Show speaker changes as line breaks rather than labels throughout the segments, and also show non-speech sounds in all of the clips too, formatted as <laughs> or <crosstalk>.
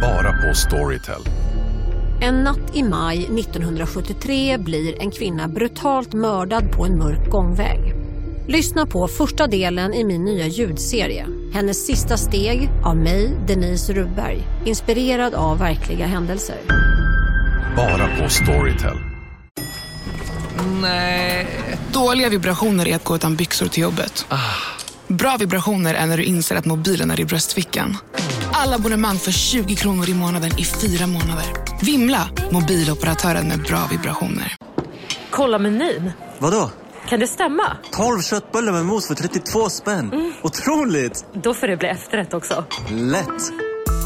Bara på Storytel.
En natt i maj 1973 blir en kvinna brutalt mördad på en mörk gångväg. Lyssna på första delen i min nya ljudserie. Hennes sista steg av mig, Denise Rubberg. Inspirerad av verkliga händelser.
Bara på Storytel.
Nej. Dåliga vibrationer är att gå utan byxor till jobbet. Bra vibrationer är när du inser att mobilen är i bröstfickan. Alla abonnemang för 20 kronor i månaden i fyra månader. Vimla! Mobiloperatören med bra vibrationer.
Kolla menyn.
Vadå?
Kan det stämma?
12 köttbullar med mos för 32 spänn. Otroligt!
Då får det bli efterrätt också.
Lätt!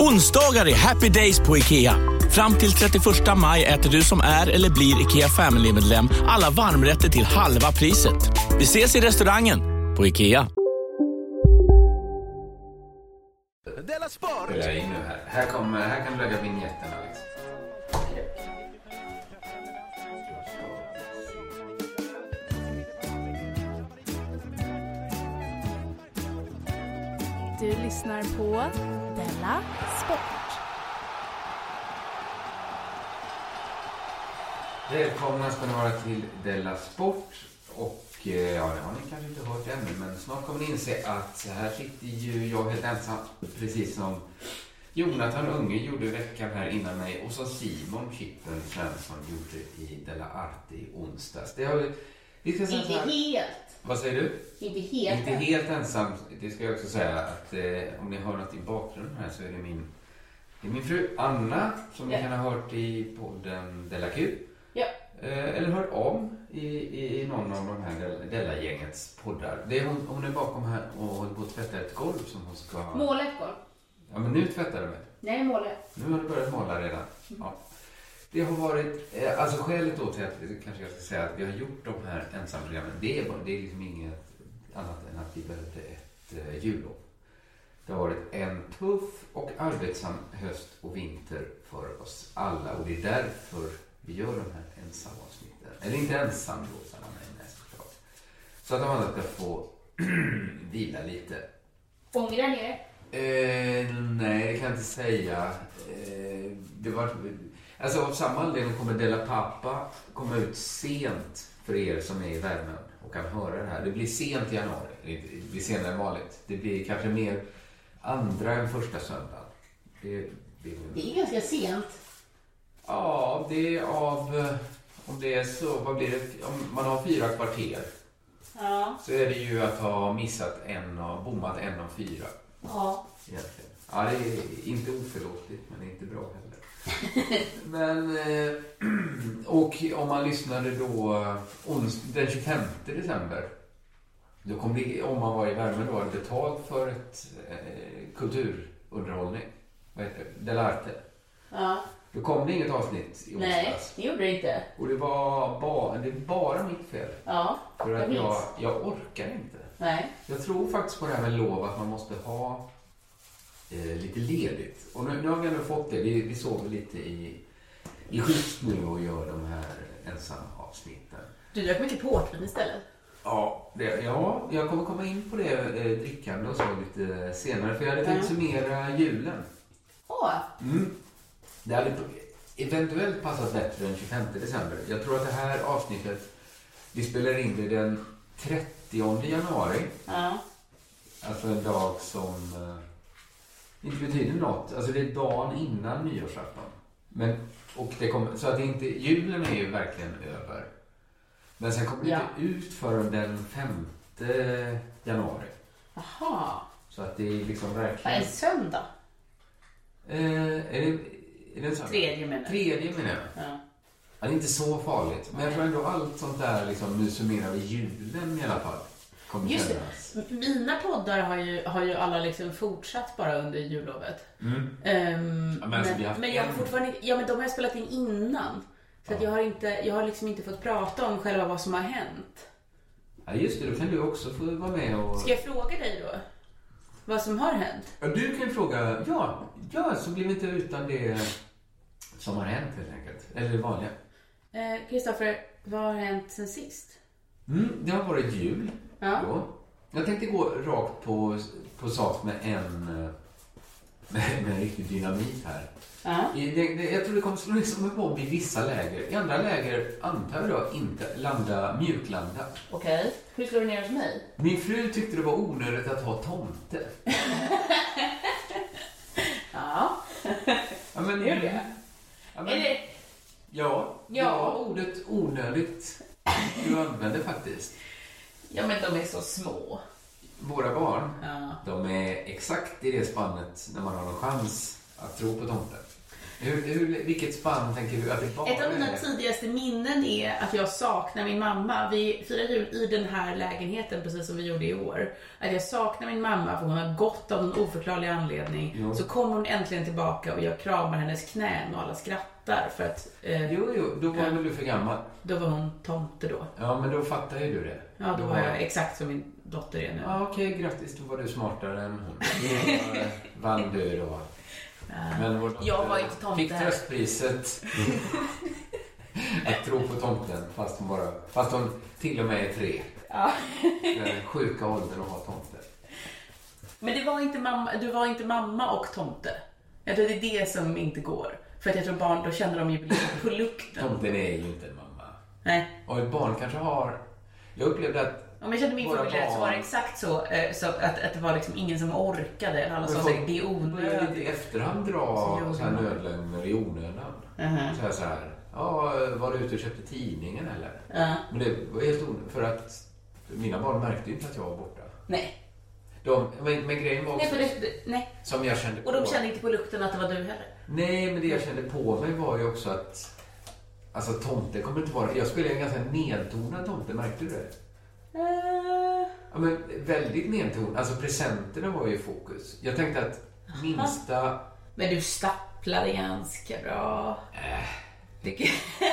Onsdagar är happy days på IKEA. Fram till 31 maj äter du som är eller blir IKEA Family-medlem alla varmrätter till halva priset. Vi ses i restaurangen på IKEA.
Fylla i nu här. Här, kommer, här kan du lägga vinjetten Alex.
Du lyssnar på Della Sport.
Välkomna ska ni vara till Della Sport. Och eh, ja, det har ni kanske inte hört ännu, men snart kommer ni inse att här sitter ju jag helt ensam, precis som Jonathan Unge gjorde i veckan här innan mig och som Simon Chippen Svensson gjorde i Della Arte i onsdags. Det har vi, vi ska säga så
Inte
här.
helt.
Vad säger du?
Inte helt.
Inte helt ensam. Det ska jag också säga att eh, om ni hör något i bakgrunden här så är det min, det är min fru Anna som ni
Ja.
kan ha hört i podden Della Q.
Ja.
Eh, eller hört om i, i, i någon av de här Della- Della-gängets poddar. Det är hon, hon är bakom här och håller på att tvätta ett golv som hon ska...
Måla ett golv.
Ja, men nu tvättar du mig.
Nej, måla.
Nu har du börjat måla redan. Ja. Det har varit, eh, alltså skälet då till att, kanske jag ska säga att vi har gjort de här ensamprogrammen, det är, bara- det är liksom inget annat än att vi behövde ett eh, jullov. Det har varit en tuff och arbetsam höst och vinter för oss alla och det är därför vi gör de här ensamavsnitten. Eller inte ensam då, Sanna Männäs såklart. Så att de andra ska få <clears throat> vila lite.
Ångra ner.
Eh, nej, det kan jag inte säga. Eh, det var, alltså, av samma anledning kommer Della Pappa komma ut sent för er som är i värmen och kan höra det här. Det blir sent i januari. Det blir senare än vanligt. Det blir kanske mer andra än första söndagen. Det, det,
Det är ganska sent.
ja, det är av... eh, Om det är så, vad blir det? Om man har fyra kvarter
Ja.
så är det ju att ha missat en och bommat en av fyra.
Ja.
egentligen. Ja, det är inte oförlåtligt, men det är inte bra heller.
<laughs>
men, eh, <clears throat> och om man lyssnade då eh, ons- den 25 december, då kom det, om man var i värmen då, hade betalt för ett eh, kulturunderhållning. Vad heter det? Delarte.
ja.
Då kom det inget avsnitt i
Nej,
onsdags.
det gjorde det inte.
Och det var, ba, det var bara mitt fel.
Ja.
För
Jag
att
minns.
jag, jag orkar inte.
Nej.
Jag tror faktiskt på det här med lov, att man måste ha eh, lite ledigt. Och nu, nu har vi ändå fått det. Vi, vi sover lite i, i skift nu och gör de här ensamavsnitten.
Du drack mycket portvin istället.
Ja, det, ja, jag kommer komma in på det eh, drickande och så lite senare. För jag hade tänkt summera julen.
Åh.
Det hade eventuellt passat bättre den 25 december. Jag tror att det här avsnittet, vi spelar in det den 30 januari.
Ja.
Alltså en dag som eh, inte betyder något. Alltså det är dagen innan nyårsafton. Men, och det kommer, så att det inte, julen är ju verkligen över. Men sen kommer det
Ja.
inte ut förrän den 5 januari.
Jaha.
Så att det är liksom
Vad
verkligen...
är söndag?
Eh, är det, är det en söndag?
Tredje menar jag.
Tredje menar jag.
Ja.
Ja, det är inte så farligt. Men jag tror ändå allt sånt där, liksom, nu summerar vi julen i alla fall. Kommer
Just det.
kännas.
Mina poddar har ju, har ju alla liksom fortsatt bara under jullovet. Ehm,
Mm. Ja, men
men,
alltså, vi har haft
men jag har
en-
fortfarande ja, men de har jag spelat in innan. Så att jag, har inte, jag har liksom inte fått prata om själva vad som har hänt.
Ja, just det. Då kan du också få vara med och...
Ska jag fråga dig då? Vad som har hänt?
Ja, du kan ju fråga. Ja, ja, så blir vi inte utan det som har hänt helt enkelt. Eller det vanliga.
Eh,
Kristoffer, vad har hänt sen sist?
Mm, det har varit jul.
Ja.
Då. Jag tänkte gå rakt på, på sak med en eh, med, med riktig dynamit här.
Ja.
I- Det, det, jag tror det kommer slå ner som en bomb i vissa läger. I andra läger antar jag då inte landa, mjuklanda.
Okej. Hur slår du ner hos mig?
Min fru tyckte det var onödigt att ha tomte.
Ja.
Ja, men,
Gör det?
Ja,
Är
men,
det...
ja,
Ja.
ja, ordet onödigt du använde faktiskt.
Ja, men de är så små.
Våra barn,
Ja.
de är exakt i det spannet när man har någon chans att tro på tomten. Hur, hur, vilket spann tänker du att det bara
Ett av mina
är?
tidigaste minnen är att jag saknar min mamma. Vi firar jul i den här lägenheten precis som vi gjorde i år. Att jag saknar min mamma för hon har gått av någon oförklarlig anledning.
Jo.
Så kommer hon äntligen tillbaka och jag kramar hennes knän och alla skrattar för att eh,
Jo, jo, då var väl du för gammal.
då var hon tomte då.
Ja, men då fattar ju du det.
Ja, då var jag exakt som min dotter är nu.
Ja, okej, grattis. Då var du smartare än
<laughs>
hon. Då vann du då. Men vår
Jag var
dotter
inte tomte
Fick
här.
tröstpriset. Att tro på tomten fast hon, bara, fast hon till och med är tre.
Ja. <laughs>
Den sjuka åldern att ha tomte.
Men det var inte mamma, du var inte mamma och tomte. Jag tror det är det som inte går. För att jag tror barn, då känner de ju <laughs> på lukten.
Tomten är ju inte en mamma.
Nej.
Och ett barn kanske har... Jag upplevde att...
Om jag kände min
Våra
familj rätt så var det
barn.
exakt så, eh, så att, att det var liksom ingen som orkade. Alla sa
Men
säkert Alltså, det är
börjar lite i
onödigt.
efterhand
Så
dra
jag-
så här nödlögner i onödan.
Mhm.
Så här, så här, ja, var du ute och köpte tidningen eller?
Ja.
Men det var helt onödigt för att mina barn märkte ju inte att jag var borta.
Nej.
De, men, men grejen var också,
Nej, för det, det, nej.
som jag kände
Och de
på-
kände inte på lukten att det var du heller.
Nej, men det jag kände på mig var ju också att Alltså tomte kommer inte vara... Jag spelade en ganska nedtonad tomte, märkte du det?
Eh.
Ja, men väldigt nedtonad. Alltså presenterna var ju i fokus. Jag tänkte att minsta...
Men du stapplade ganska bra. Det,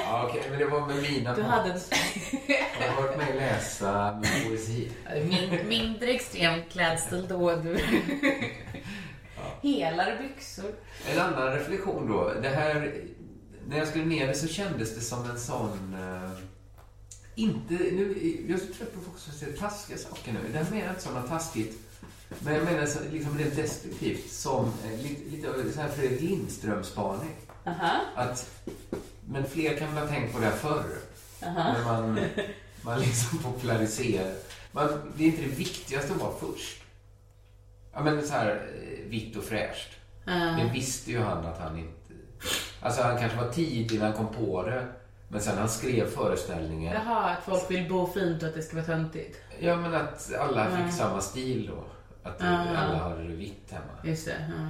Ja, okej, men det var med mina...
<laughs> du hade en
Jag har hört mig läsa min poesi.
min, mindre extrem klädstil
<laughs>
då. Du. Helare byxor.
En annan reflektion då. Det här, när jag skulle ner det så kändes det som en sån... eh, inte, nu, jag är så trött på folk som säger taskiga saker nu. Det här menar jag inte som något taskigt. Men jag menar så, liksom rent destruktivt som eh, lite, lite av så här Fredrik Lindström-spaning.
Aha.
Att, men fler kan väl ha tänkt på det här förr. När man, man liksom populariserar. Man, det är inte det viktigaste att vara först. Ja, men så här eh, vitt och fräscht. Det visste ju han att han inte... Alltså han kanske var tidig när han kom på det. Men sen när han skrev föreställningen.
Jaha, att folk vill bo fint och att det ska vara töntigt.
Ja, men att alla fick samma stil då. Att alla hade det vitt hemma.
Just det. Ja.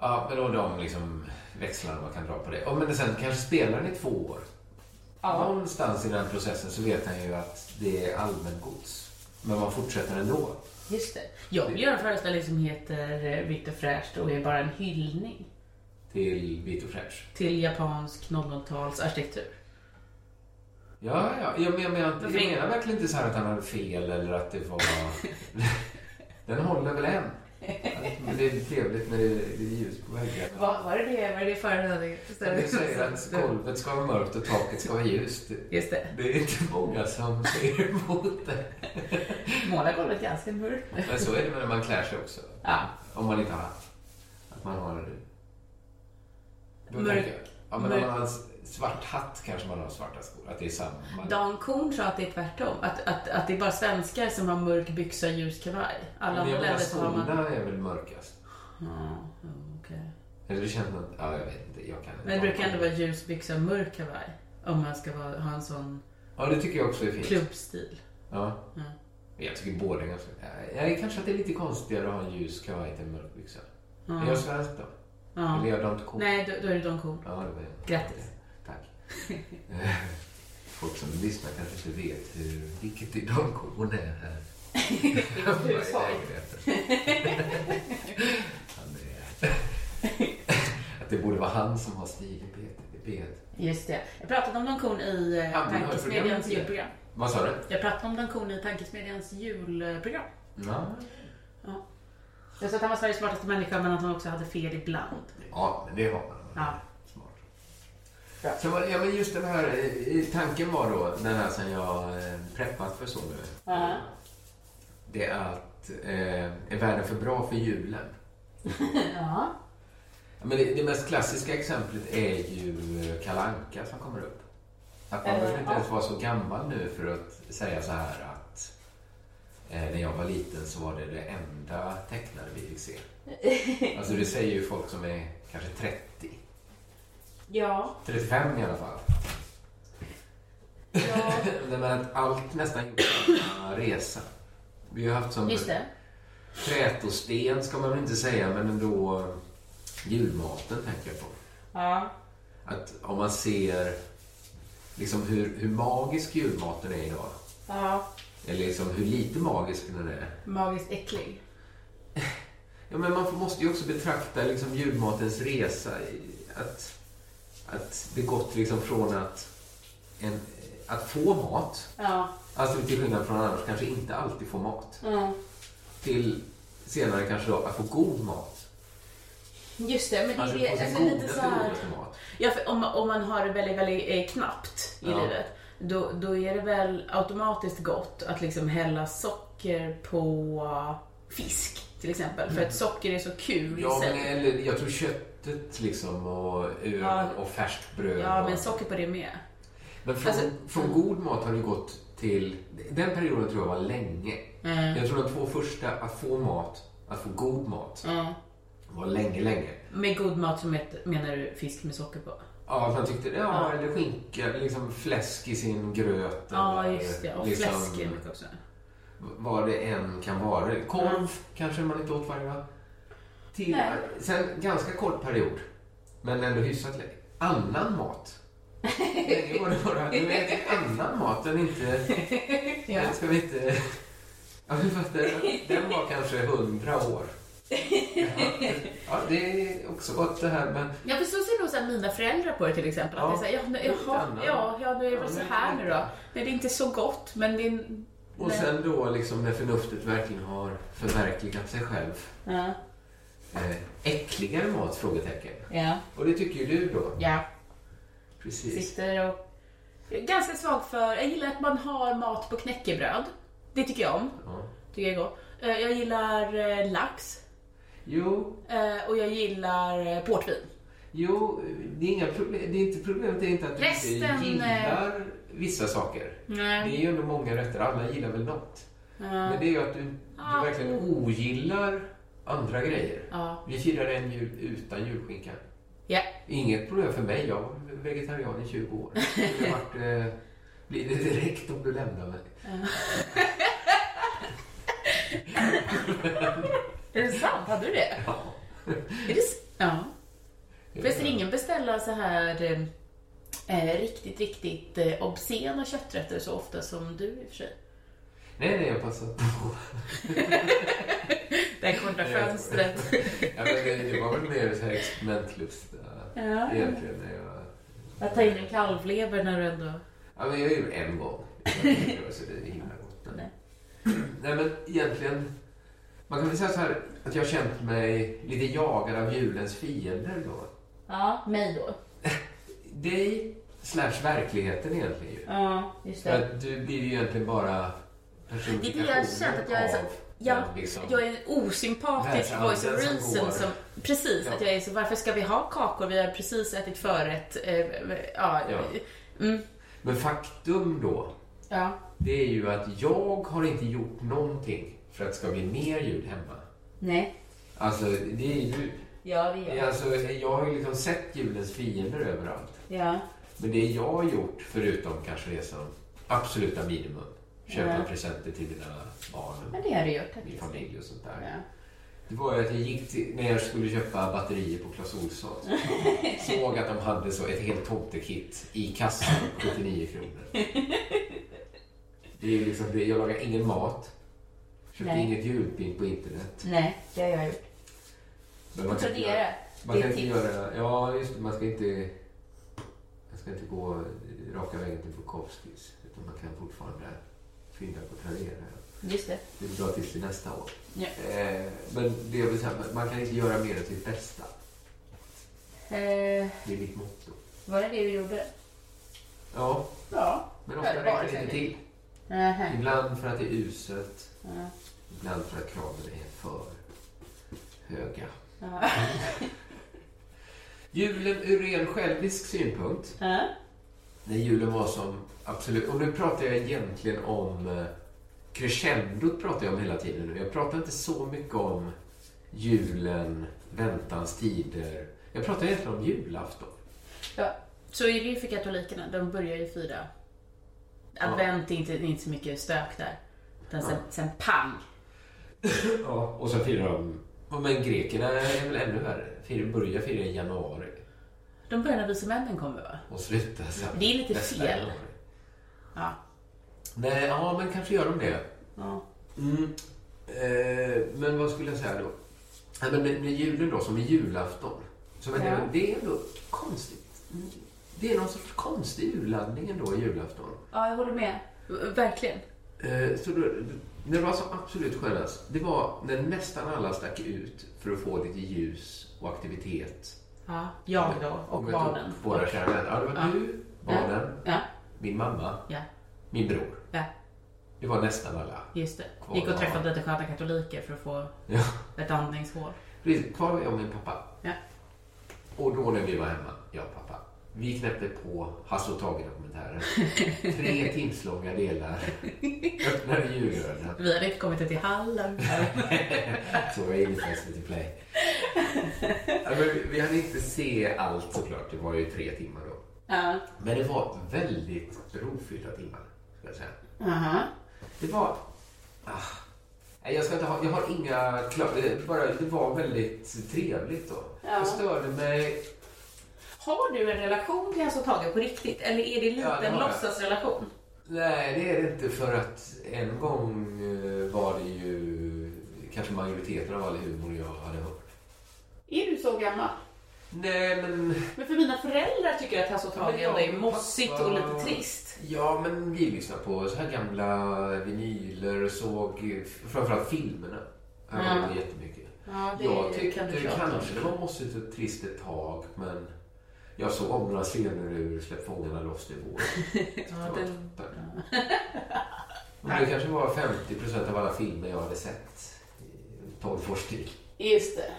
Ja, men då de liksom växlarna man kan dra på det. Och men sen kanske spelar den i två år. Någonstans i den processen så vet han ju att det är allmängods. Men man fortsätter ändå.
Just det. Jag vill göra en föreställning som heter eh, Vitt och fräscht och är bara en hyllning
Till Vito Fräsch.
till japansk 00-tals arkitektur.
Ja, ja. Jag, men, jag, menar, inte-
Varför
jag menar verkligen inte så här att han hade fel eller att det var... den håller väl än. Men det är trevligt när det är det är ljus på väggarna.
Vad var det det? Var det det föreställningen?
Du säger att golvet ska vara mörkt och taket ska vara ljust.
Just det.
Det är inte många som säger emot det.
Måla golvet ganska mörkt.
Men så är det när man klär sig också.
Ja.
Om man inte har Att man har... Då
Mörk-
tänker jag- Ja, men om
mörk-
man har en svart hatt kanske man har svarta skor. Att det är samma.
Dan Korn sa att det är tvärtom. Att, att, att det är bara svenskar som har mörk byxa och ljus kavaj. Alla
men
andra
jag menar
länder så har man...
skorna är väl mörkast.
Ja, okej.
Eller det känns något... Ja, jag vet inte. Jag kan inte.
Men det brukar ändå vara ljus byxa och mörk kavaj. Om man ska vara, ha en sån
Ja, det tycker jag också är fint.
klubbstil.
Ja.
Mm.
Men Jag tycker båda är ganska... Nej, kanske att det är lite konstigare att ha en ljus kavaj till en mörk byxa. Är jag svensk då?
Ja.
Eller är jag inte cool?
Nej, då, då är det Dan Korn.
Ja, det var
Grattis.
Tack. <laughs> Eh, Folk som lyssnar kanske inte vet hur, vilket idag hon är här. Vad är det för? <laughs> Han är- <laughs> Att det borde vara han som har stil i P1. i P1.
Just det. Jag pratade om Dan Korn i eh,
Ja, men har ju programmet
Tankesmedjans
det.
julprogram.
Vad sa du?
Jag pratade om Dan Korn i Tankesmedjans julprogram.
Ja.
Jag sa att han var Sveriges smartaste människa men att han också hade fel ibland.
Ja, men det har man.
Ja.
Smart. Så, var- ja, men just den här eh, tanken var då, den här som jag eh, preppat för så nu. Det är att eh, är världen för bra för julen?
Ja.
Men det, det mest klassiska exemplet är ju eh, Kalle Anka som kommer upp. Att man behöver inte ens vara så gammal nu för att säga så här att eh, när jag var liten så var det det enda tecknade vi fick
<laughs>
se. Alltså det säger ju folk som är kanske 30.
Ja.
35 i alla fall. <laughs> Nej, men att allt nästan gjort samma resa. Vi har haft som
Just det.
trätosten ska man väl inte säga, men ändå julmaten tänker jag på.
Ja.
Att om man ser liksom hur, hur magisk julmaten är idag.
ja.
Eller liksom hur lite magisk den är.
Magiskt äcklig.
Ja, men man måste ju också betrakta liksom julmatens resa. I, att, att det gått liksom från att, en, att få mat,
Ja.
alltså till skillnad från annars kanske inte alltid få mat,
Mm.
till senare kanske då att få god mat.
Just det, men det
Alltså
är
på sin
alltså,
goda
lite så här...
förlorade mat.
Ja, för om, om man har det väldigt, väldigt eh, knappt i
Ja.
livet, då, då är det väl automatiskt gott att liksom hälla socker på fisk till exempel. För att socker är så kul i
Mm. Ja, men
sig.
eller, jag tror köttet liksom och ölen
Ja.
och färskt bröd.
Ja,
och-
men socker på det med.
Men från,
Alltså-
från god mat har det gått till... Den perioden tror jag var länge.
Mm.
Jag tror de två första, att få mat, att få god mat, var länge, länge.
Med god mat så met- menar du fisk med socker på?
Ja, att man tyckte ja, eller skinka, liksom fläsk i sin gröt.
Ja,
eller
just det. Och
liksom,
fläsk är mycket också.
Vad det än kan vara. Korv kanske man inte åt varje dag. Till,
Mm. Nej.
sen ganska kort period, men ändå hyfsat länge. Annan
<laughs>
mat. Länge var det bara, nu äter vi annan mat än inte...
Ja.
Den ska vi inte... Ja, men fattar du? Den var kanske hundra år. Ja, ja, det är också gott det här, men...
Ja, för så ser nog så här mina föräldrar på det till exempel. Att
Ja.
det är så här, ja, nu, jaha,
Lite
ja,
annorlunda.
ja, nu är det
Ja,
väl så
men-
här nu då. Nej, det är inte så gott, men det är... en-
Och
Nej.
sen då liksom när förnuftet verkligen har förverkligat sig själv.
Ja.
Eh, äckligare mat? Frågetecken.
Ja.
Och det tycker ju du då.
ja.
Precis.
Sitter och... Jag är ganska svag för... Jag gillar att man har mat på knäckebröd. Det tycker jag om.
Ja.
Tycker jag är gott. Eh, Jag gillar eh, lax.
Jo,
eh, Och jag gillar eh, portvin.
jo, det är inga problem. Det är inte problemet är inte att du
Resten,
inte
eh,
gillar vissa saker. Det
Nej.
är ju ändå många rätter. Alla gillar väl något. Men det är ju att du, du verkligen ogillar andra grejer.
Ja.
Vi firade en jul utan julskinka.
Ja.
Inget problem för mig. Jag var vegetarian i 20
<laughs>
år. Det vart, eh, blir det direkt om du lämnar mig.
Är det sant? Hade du det?
Ja.
Är det... s- Ja. Förresten, ingen beställa så här eh, eh, riktigt, riktigt eh, obscena kötträtter så ofta som du i och för sig.
Nej, nej, jag passar på.
Det här korta fönstret. <laughs>
Ja, men det, det var väl mer så här experimentlusta
Ja.
egentligen. När jag,
Att ta in en kalvlever när du ändå...
ja, men jag gjorde en gång. Så det är himla gott. Men- Nej, men egentligen. Man kan väl säga så här att jag har känt mig lite jagad av julens fiender då.
Ja, mig då.
Dig slash verkligheten egentligen ju.
Ja, just
För att du blir ju egentligen bara
Det är det jag har känt att jag är så...
av
Ja,
den, liksom.
jag är en osympatisk
Världshandeln
voice of
som går.
reason som... Precis,
Ja.
att jag är så, varför ska vi ha kakor? Vi har precis ätit förrätt. Eh, ja.
Ja.
Mm,
Men faktum då,
ja.
det är ju att jag har inte gjort någonting för att det ska bli mer ljud hemma.
Nej.
Alltså, det är ju...
Ja, det gör jag.
Alltså, jag har ju liksom sett julens fiender överallt.
Ja.
Men det jag har gjort, förutom kanske det som absoluta minimum, köpa
Ja.
presenter till dina barn
Men det har du gjort.
och din familj och sånt där.
Ja.
Det var ju att jag gick till, när jag skulle köpa batterier på Clas
<laughs>
Ohlson. såg att de hade så ett helt tomtekit i kassan, 79 kronor. Det är ju liksom det, jag lagar ingen mat. Köpte
Nej.
inget julpynt på internet.
Nej, det har jag gjort.
Men man
Och
kan inte
Tradera.
göra- Man
Det
kan
är
inte
tips.
göra... Ja, just det. Man ska inte... Man ska inte gå raka vägen till Bukowskis. Utan man kan fortfarande fynda på Tradera.
Just det.
Det är bra tips till nästa år.
Ja.
Eh, men det är väl så här, man- man kan inte göra mer än sitt bästa.
Eh,
Det är mitt motto.
var det det du gjorde?
Ja,
Ja.
men ofta
Ja, det var
räcker det
det
inte till. Ibland för att det är uselt.
<laughs>
Ibland för att kraven är för höga. Julen ur ren självisk synpunkt.
Ja.
När julen var som absolut... Och nu pratar jag egentligen om... eh, Crescendot pratar jag om hela tiden nu. Jag pratar inte så mycket om julen, väntans tider. Jag pratar egentligen om julafton.
Ja. Så är det ju för katolikerna. De börjar ju fira. Advent är inte, det är inte så mycket stök där. Utan sen, sen pang.
Ja, och sen firar de... Ja, Men grekerna är väl ännu värre. Fir- Börjar fira i januari
De börjar när visummännen kommer va?
och slutar sen.
Det är lite
nästa
fel.
januari.
Ja.
Nej, ja men kanske gör de det.
ja.
Mm. Eh, men vad skulle jag säga då? Nej, men med, med julen då, som är julafton. Så vet
Ja.
jag, det är ändå konstigt. Mm. Det är någon sorts konstig urladdning ändå i julafton.
ja, jag håller med. V- Verkligen.
Eh, så då, när det var som absolut skönast, det var när nästan alla stack ut för att få lite ljus och aktivitet.
Ja. Jag då och
Om jag tar
barnen.
Våra kära vänner. Ja, det var
Ja.
du, barnen,
Ja.
min mamma,
Ja.
min bror.
Ja.
Det var nästan alla.
Just det.
Kvar
Gick och
då.
träffade lite sköna katoliker för att få
Ja.
ett andningshål.
Precis, Kvar var jag och min pappa.
Ja.
Och då när vi var hemma, jag och pappa, vi knäppte på Hasse och Tage-dokumentären. Tre timslånga delar. Öppnade julölen.
Vi hade inte kommit
<laughs>
till Halland.
Så var jag inne på SVT Play. Ja, men vi- vi hann inte se allt såklart. Det var ju tre timmar då.
Ja.
Men det var väldigt rofyllda timmar, ska jag säga.
Aha.
Det var... Ah, nej, jag, ska inte ha, jag har inga... kla- eh, Bara, det var väldigt trevligt då. Jag störde mig...
Har du en relation till Hasse och Tage på riktigt? Eller är det lite
Ja, det
en
har jag.
låtsasrelation?
Nej, det är det inte för att en gång eh, var det ju kanske majoriteten av all humor jag hade hört.
Är du så gammal?
Nej, men...
Men för mina föräldrar tycker att Hasse och Tage ändå är mossigt och lite trist.
Ja, men vi lyssnade på så här gamla vinyler och såg eh, framförallt filmerna. Jag
Mm.
mm. jättemycket.
Ja, det
jag
kan
tyckte
du prata om.
kanske det var mossigt och trist ett tag, men jag såg om några scener ur Släpp fångarna loss i
<laughs>
vår.
Ja,
Det var
den-
toppen. Men det kanske var 50 procent av alla filmer jag hade sett i 12 års tid.
Just det.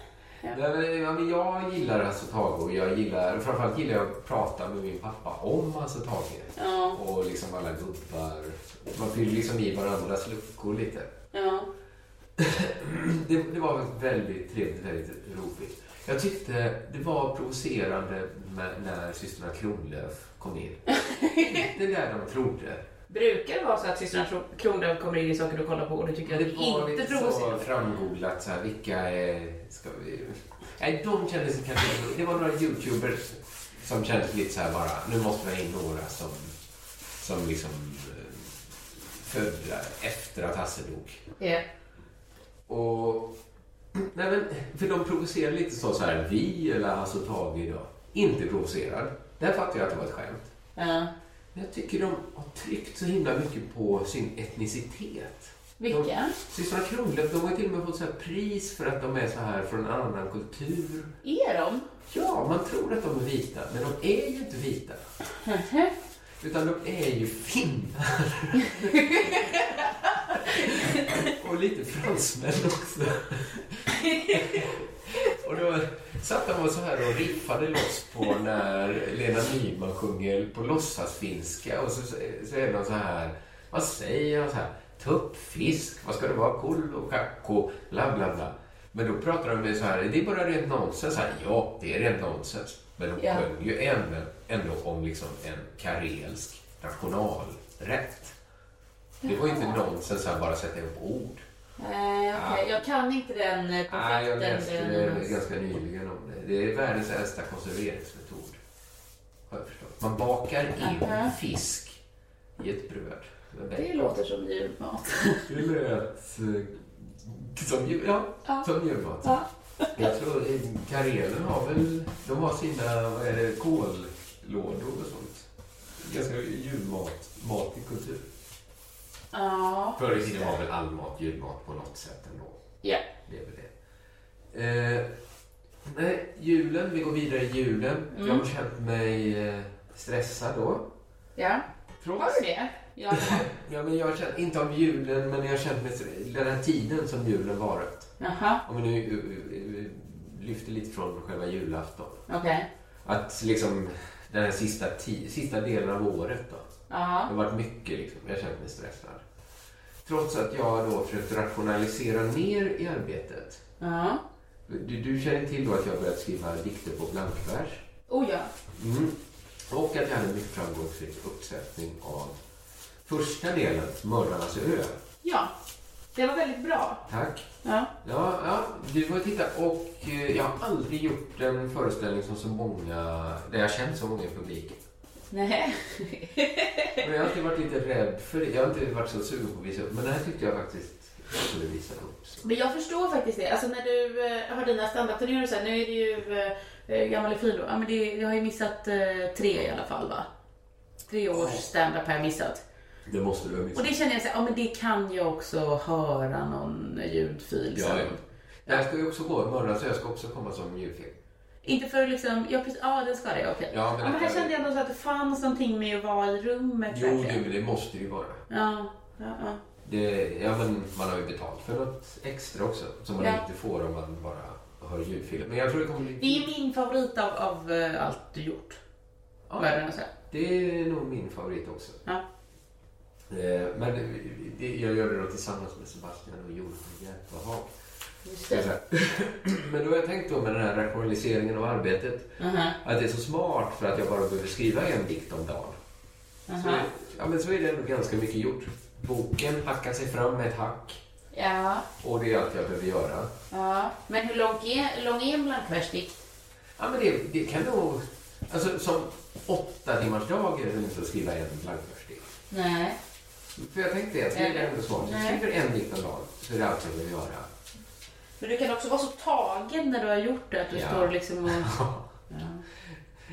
Ja.
Nej, men, ja, men jag gillar Hasse och Tage och jag gillar, framförallt gillar jag att prata med min pappa om Hasse och Tage.
Ja,
Och liksom alla gubbar. Man fyller liksom i varandras luckor lite.
ja.
Det, det var väldigt trevligt, väldigt roligt. Jag tyckte det var provocerande med, när systrarna Kronlöf kom in. Inte där de trodde.
Brukar det vara så att systrarna Tro- Kronlöf kommer in i saker du kollar på och du tycker
Men
att
det var
det inte
lite så
provocerar?
framgooglat så här, vilka är, ska vi... Nej, de kändes kanske... Det var några youtubers som kändes lite så här bara, nu måste vi ha in några som, som liksom eh, födda efter att Hasse dog.
Ja.
Och... Nej, men, för de provocerar lite så, så här, vi eller Hasse och Tage idag. Inte provocerad. Där fattar jag att det var ett skämt.
Ja.
Men jag tycker de har tryckt så himla mycket på sin etnicitet.
Vilka?
De, Systrarna Kronlöf, de har till och med fått så här pris för att de är så här från en annan kultur.
Är de? <laughs>
Ja, man tror att de är vita, men de är ju inte vita. Utan de är ju finnar. och lite fransmän också. och då satt de och så här och riffade loss på när Lena Nyman sjunger på låtsasfinska och så, så är de så här, vad säger de så här, tuppfisk, vad ska det vara, kull och kacko, bla bla bla. Men då pratar de ju så här, det är bara rent nonsens. Så här, ja, det är rent nonsens. Men de
Ja.
sjöng ju ändå, ändå om liksom en karelsk nationalrätt. Det var ju inte nonsens att bara sätta ihop ord.
Eh, okej. Jag kan inte den eh, perfekten.
Nej, jag läste
den-
det ganska nyligen om det. Det är världens äldsta konserveringsmetod. Har jag förstått. Man bakar in
Aha.
fisk i ett bröd. med
Det
bacon.
låter som julmat.
Det lät eh, som, jul- ja, som julmat. Jag tror eh, Karelen har väl, de har sina vad är det, kollådor och sånt. Ganska julmat, mat i kultur.
Ja.
Förr i tiden var väl all mat julmat på något sätt ändå.
Ja.
Det är väl det. Eh, nej, julen, vi går vidare i julen. Jag har känt mig eh, stressad då.
Ja.
Från,
Har du det? Ja.
ja, men jag har känt, inte av julen, men jag har känt mig stressad. Den här tiden som julen varit.
Jaha.
Om vi nu eh, eh, lyfter lite från själva julafton.
Okej.
Att liksom den här sista, ti- sista delen av året då.
Ja.
Det har varit mycket liksom. Jag har känt mig stressad. Trots att jag då försökt rationalisera ner i arbetet.
Ja.
Du, du känner till då att jag börjat skriva dikter på blankvers.
Oh ja.
Mm. Och att jag hade en mycket framgångsrik uppsättning av första delen, Mördarnas ö.
Ja. Det var väldigt bra.
Tack.
Ja.
Ja, ja, du får titta. Och eh, jag har aldrig gjort en föreställning som så många, där jag känt så många i publiken.
Nej. <laughs>
Men jag har alltid varit lite rädd för det. Jag har inte varit så sugen på att visa upp. Men det här tyckte jag faktiskt jag skulle visa upp. Så.
Men jag förstår faktiskt det. Alltså när du eh, har dina standup-turnéer och så här, nu är det ju eh, eh, gammal och fin då. Ja, men det, jag har ju missat eh, tre i alla fall va? Tre års standup har jag missat.
Det måste du ha
Och
missat.
det känner jag så här, ja men det kan jag också höra någon ljudfil
Ja,
sen.
ja. Det här ska ju också gå. Mördarnas ö ska också komma som ljudfilm.
Inte för att liksom, ja precis, ja den ska det, okej.
Ja, men
Ja, men här
det-
kände jag nog så att det fanns någonting med att vara i rummet
Jo,
verkligen.
det, det måste ju vara.
Ja, ja, ja.
Det, ja, men man har ju betalt för något extra också som man
Ja.
inte får om man bara hör ljudfilm. Men jag tror det kommer bli...
Det är min favorit av, av eh, allt du gjort. Vad är det nu så?
Det är nog min favorit också.
Ja.
Eh, Men det, jag gör det då tillsammans med Sebastian och Johan Jättehag. Det är så här. <clears throat> Men då har jag tänkt då med den här rationaliseringen av arbetet
Mhm.
att det är så smart för att jag bara behöver skriva en dikt om dagen. Så,
Aha.
är- ja, men så är det ändå ganska mycket gjort. Boken hackar sig fram med ett hack
Ja,
och det är allt jag behöver göra.
ja. Men hur lång är, lång är en blankversdikt?
Ja, men det, det kan nog... Alltså, som åtta timmars dag är det nog inte att skriva en blankversdikt.
Nej.
För jag tänkte att det är ändå smart. Jag
Nej.
skriver en dikt om dagen så är det allt jag behöver göra.
Men du kan också vara så tagen när du har gjort det att du
Ja.
står liksom och
<laughs>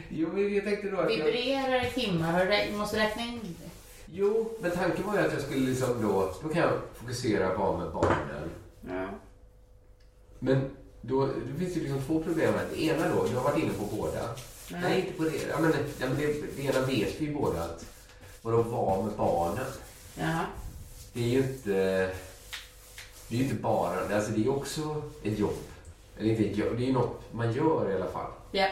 Jo, men jag tänkte då att jag...
vibrerar i timmar. Har du rä- måste räkna in det.
Jo, men tanken var ju att jag skulle liksom då... Då kan jag fokusera bara med barnen.
Ja.
Men då, det finns ju liksom två problem här. Det ena då, jag har varit inne på båda. Nej, inte på det. Ja, men, ja, men det, det ena vet vi ju båda att... Vadå vara med barnen?
Ja.
Det är ju inte... Det är ju inte bara... Alltså det är ju också ett jobb. Eller inte ett jobb, det är ju något man gör i alla fall.
Ja.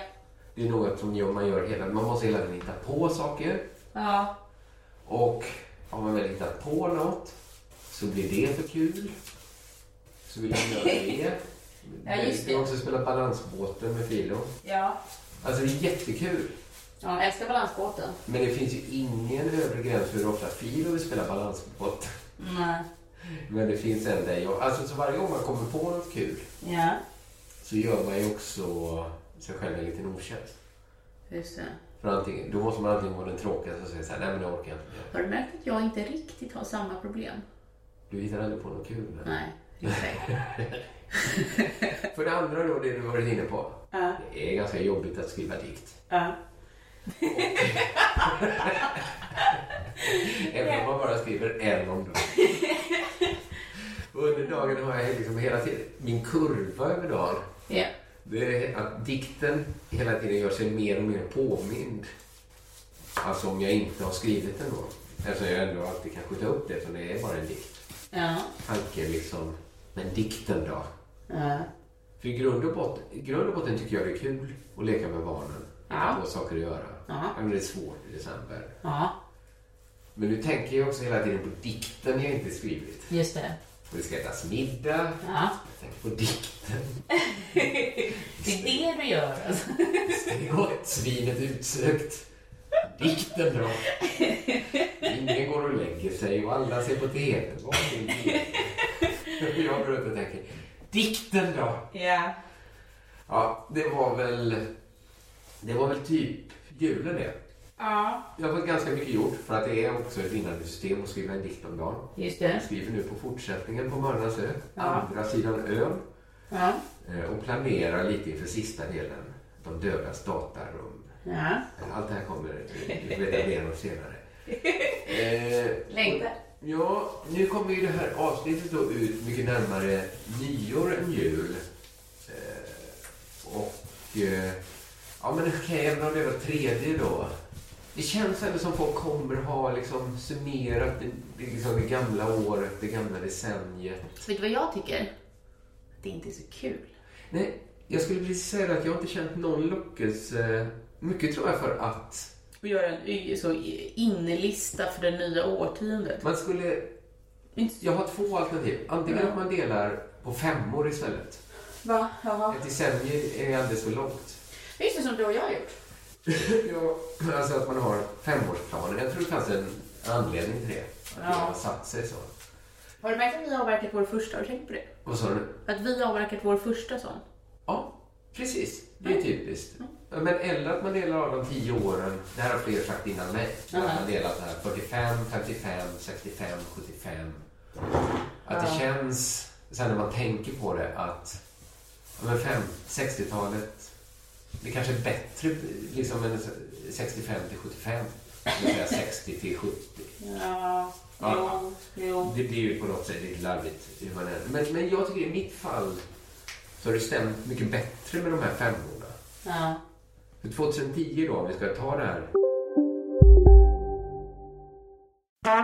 Det är något som gör- man gör hela Man måste hela tiden hitta på saker.
Ja.
Och har man väl hittat på något så blir det för kul. Så vill man göra
<laughs>
det.
Ja, just det.
Jag också spela balansbåten med Filo.
Ja.
Alltså det är jättekul.
Ja, jag älskar balansbåten.
Men det finns ju ingen övre gräns för hur ofta Filo vill spela balansbåt.
Nej.
Men det finns en där jag... Alltså så varje gång man kommer på något kul
Ja.
så gör man ju också sig själv en liten otjänst.
Just det.
För antingen, då måste man antingen vara den tråkigaste och säga så här, nej men jag orkar inte mer.
Har du märkt att jag inte riktigt har samma problem?
Du hittar aldrig på något kul. eller?
Nej. Exakt. <laughs>
För det andra då, det du varit inne på.
Ja.
Det är ganska jobbigt att skriva dikt.
Ja.
Även om man bara skriver en om dagen. Och under dagen har jag liksom hela tiden, min kurva över dagen,
Ja.
det är att dikten hela tiden gör sig mer och mer påmind. Alltså om jag inte har skrivit den då. Eftersom jag ändå alltid kan skjuta upp det, för det är bara en dikt.
Ja.
Tanken liksom, men dikten då?
Ja.
För i grund och, botten, i grund och botten tycker jag det är kul att leka med barnen. Hitta på saker att göra.
Ja.
Men det är svårt i december.
Ja.
Men nu tänker jag också hela tiden på dikten jag inte skrivit.
Just det.
Det ska ätas middag.
Ja.
Jag tänker på dikten.
Det är det du gör alltså.
Det går ett svinet utsökt. Dikten då? Ingen går och lägger sig och alla ser på TV. Vad är det? Jag går runt och tänker, dikten då?
<laughs> Ja.
Ja, det var väl, det var väl typ julen det.
Ja.
Jag har fått ganska mycket gjort för att det är också ett vinnande system att skriva en dikt om dagen.
Just
Jag
det.
skriver nu på fortsättningen på Mördarnas ö, andra sidan ön
Ja.
eh, och planerar lite inför sista delen, De dödas datarum.
Ja.
Allt det här kommer du veta mer om senare. Eh,
Längtar.
ja, nu kommer ju det här avsnittet då ut mycket närmare nyår än jul. Eh, och eh, ja, men okej, även om det var tredje då. Det känns ändå som folk kommer ha liksom summerat det, det, liksom det gamla året, det gamla decenniet.
Vet du vad jag tycker? Det är inte så kul.
Nej, jag skulle precis säga att jag inte känt någon lockelse Mycket tror jag för att
Och göra en y- så inlista för det nya årtiondet.
man skulle... Jag har två alternativ. Antingen att man delar på femmor istället.
Va? Jaha.
Ett decennium är ju alldeles för långt.
Just det, som du och jag har gjort.
Ja, alltså att man har femårsplaner. Jag tror det fanns en anledning till det. Att det har satt sig så.
Har du märkt att vi har avverkat vår första? Har du tänkt på det?
Vad sa du?
Att vi har avverkat vår första sån.
Ja, precis. Det är typiskt. Ja, Men eller att man delar av de tio åren. Det här har fler sagt innan mig. Att man delat det här 45, 55, 65, 75. Att det känns, sen när man tänker på det, att ja, men fem- 60-talet, det kanske är bättre liksom än 65 till 75. Det vill säga 60 till 70.
Ja.
Ja.
Jo. Jo.
Det blir ju på något sätt lite larvigt hur man är. Men, men jag tycker i mitt fall så har det stämt mycket bättre med de här femmorna.
Ja.
För 2010 då, om vi ska ta det här.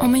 Om en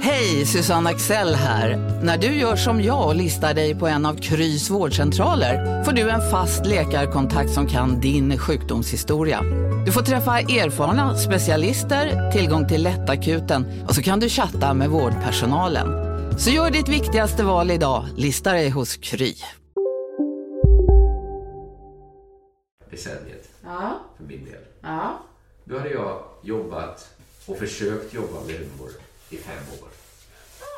Hej, Susanne Axel här. När du gör som jag och listar dig på en av Krys vårdcentraler får du en fast läkarkontakt som kan din sjukdomshistoria. Du får träffa erfarna specialister, tillgång till lättakuten och så kan du chatta med vårdpersonalen. Så gör ditt viktigaste val idag, listar dig hos Kry.
decenniet
Ja.
för min del.
Ja.
Då hade jag jobbat och försökt jobba med humor i fem år.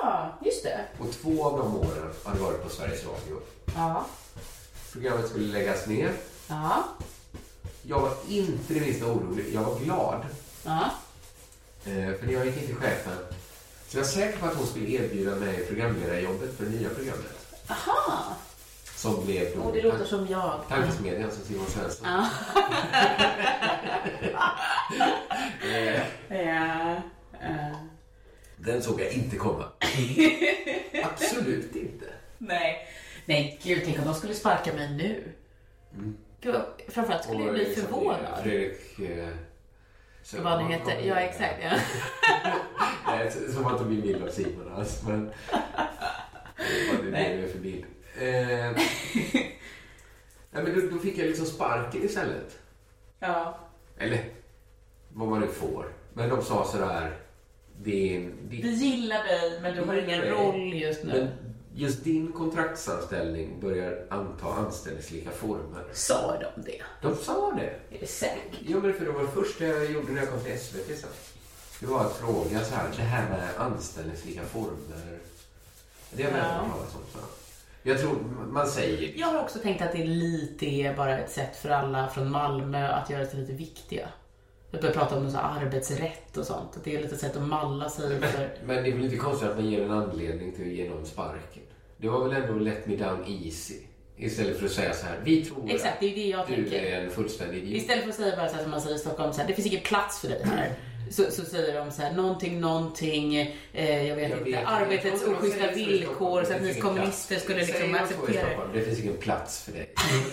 Ja, just det.
Och två av de åren hade varit på Sveriges Radio.
Ja.
Programmet skulle läggas ner.
Ja.
Jag var inte det minsta orolig. Jag var glad.
Ja.
Eh, För när jag gick in till chefen så jag var säker på att hon skulle erbjuda mig programledarjobbet för det nya programmet.
Aha.
Som blev då
Och det låter som jag.
Tankesmedjan som Simon Svensson.
Ja.
Eh,
ja. ja.
Den såg jag inte
<laughs>
komma. Absolut inte.
Nej. Nej, gud, tänk om de skulle sparka mig nu.
Mm.
Gud, framförallt skulle jag bli
liksom,
förvånad.
Fredrik... eh, Söderman
Vad han
kom
heter.
in
Ja,
där.
exakt. <laughs> Ja.
Nej, så- som att de blir bild av Simon alls. Men... Vad det blev för bild. Eh, <laughs> Nej, men då, då fick jag liksom sparken istället.
ja.
Eller vad man nu får. Men de sa sådär. Din,
Vi
din,
gillar dig, men du har ingen roll just
Mm. men
nu.
just din kontraktsanställning börjar anta anställningslika former.
Sa de det?
De sa det.
Är det säkert?
Ja, men för det var det första jag gjorde när jag kom till SVT sen. Det var att fråga så här, det här med anställningslika former. Det har jag
Ja.
ja. talas om. Så. Jag tror man säger
Jag har också tänkt att det lite är bara ett sätt för alla från Malmö att göra sig lite viktiga. Vi börjar prata om så här arbetsrätt och sånt. Att det är lite ett sätt att malla sig för...
Men det är väl inte konstigt att man ger en anledning till att ge någon sparken. Det var väl ändå let me down easy. Istället för att säga så här, vi tror
Exakt, det är ju det jag
att du
tänker.
är en fullständig idiot.
Istället för att säga bara så här som man säger i Stockholm, så här, det finns ingen plats för dig här. Så, så säger de så här, någonting, någonting, eh, jag vet
Jag
inte,
vet inte.
arbetets
Jag tror de säger
oschyssta
så i
villkor så
Stockholm. Det
att ni
finns
kommunister
ingen
skulle
plats.
liksom
Säger man så i
acceptera det.
Stockholm, Det finns ingen plats för dig.
<laughs>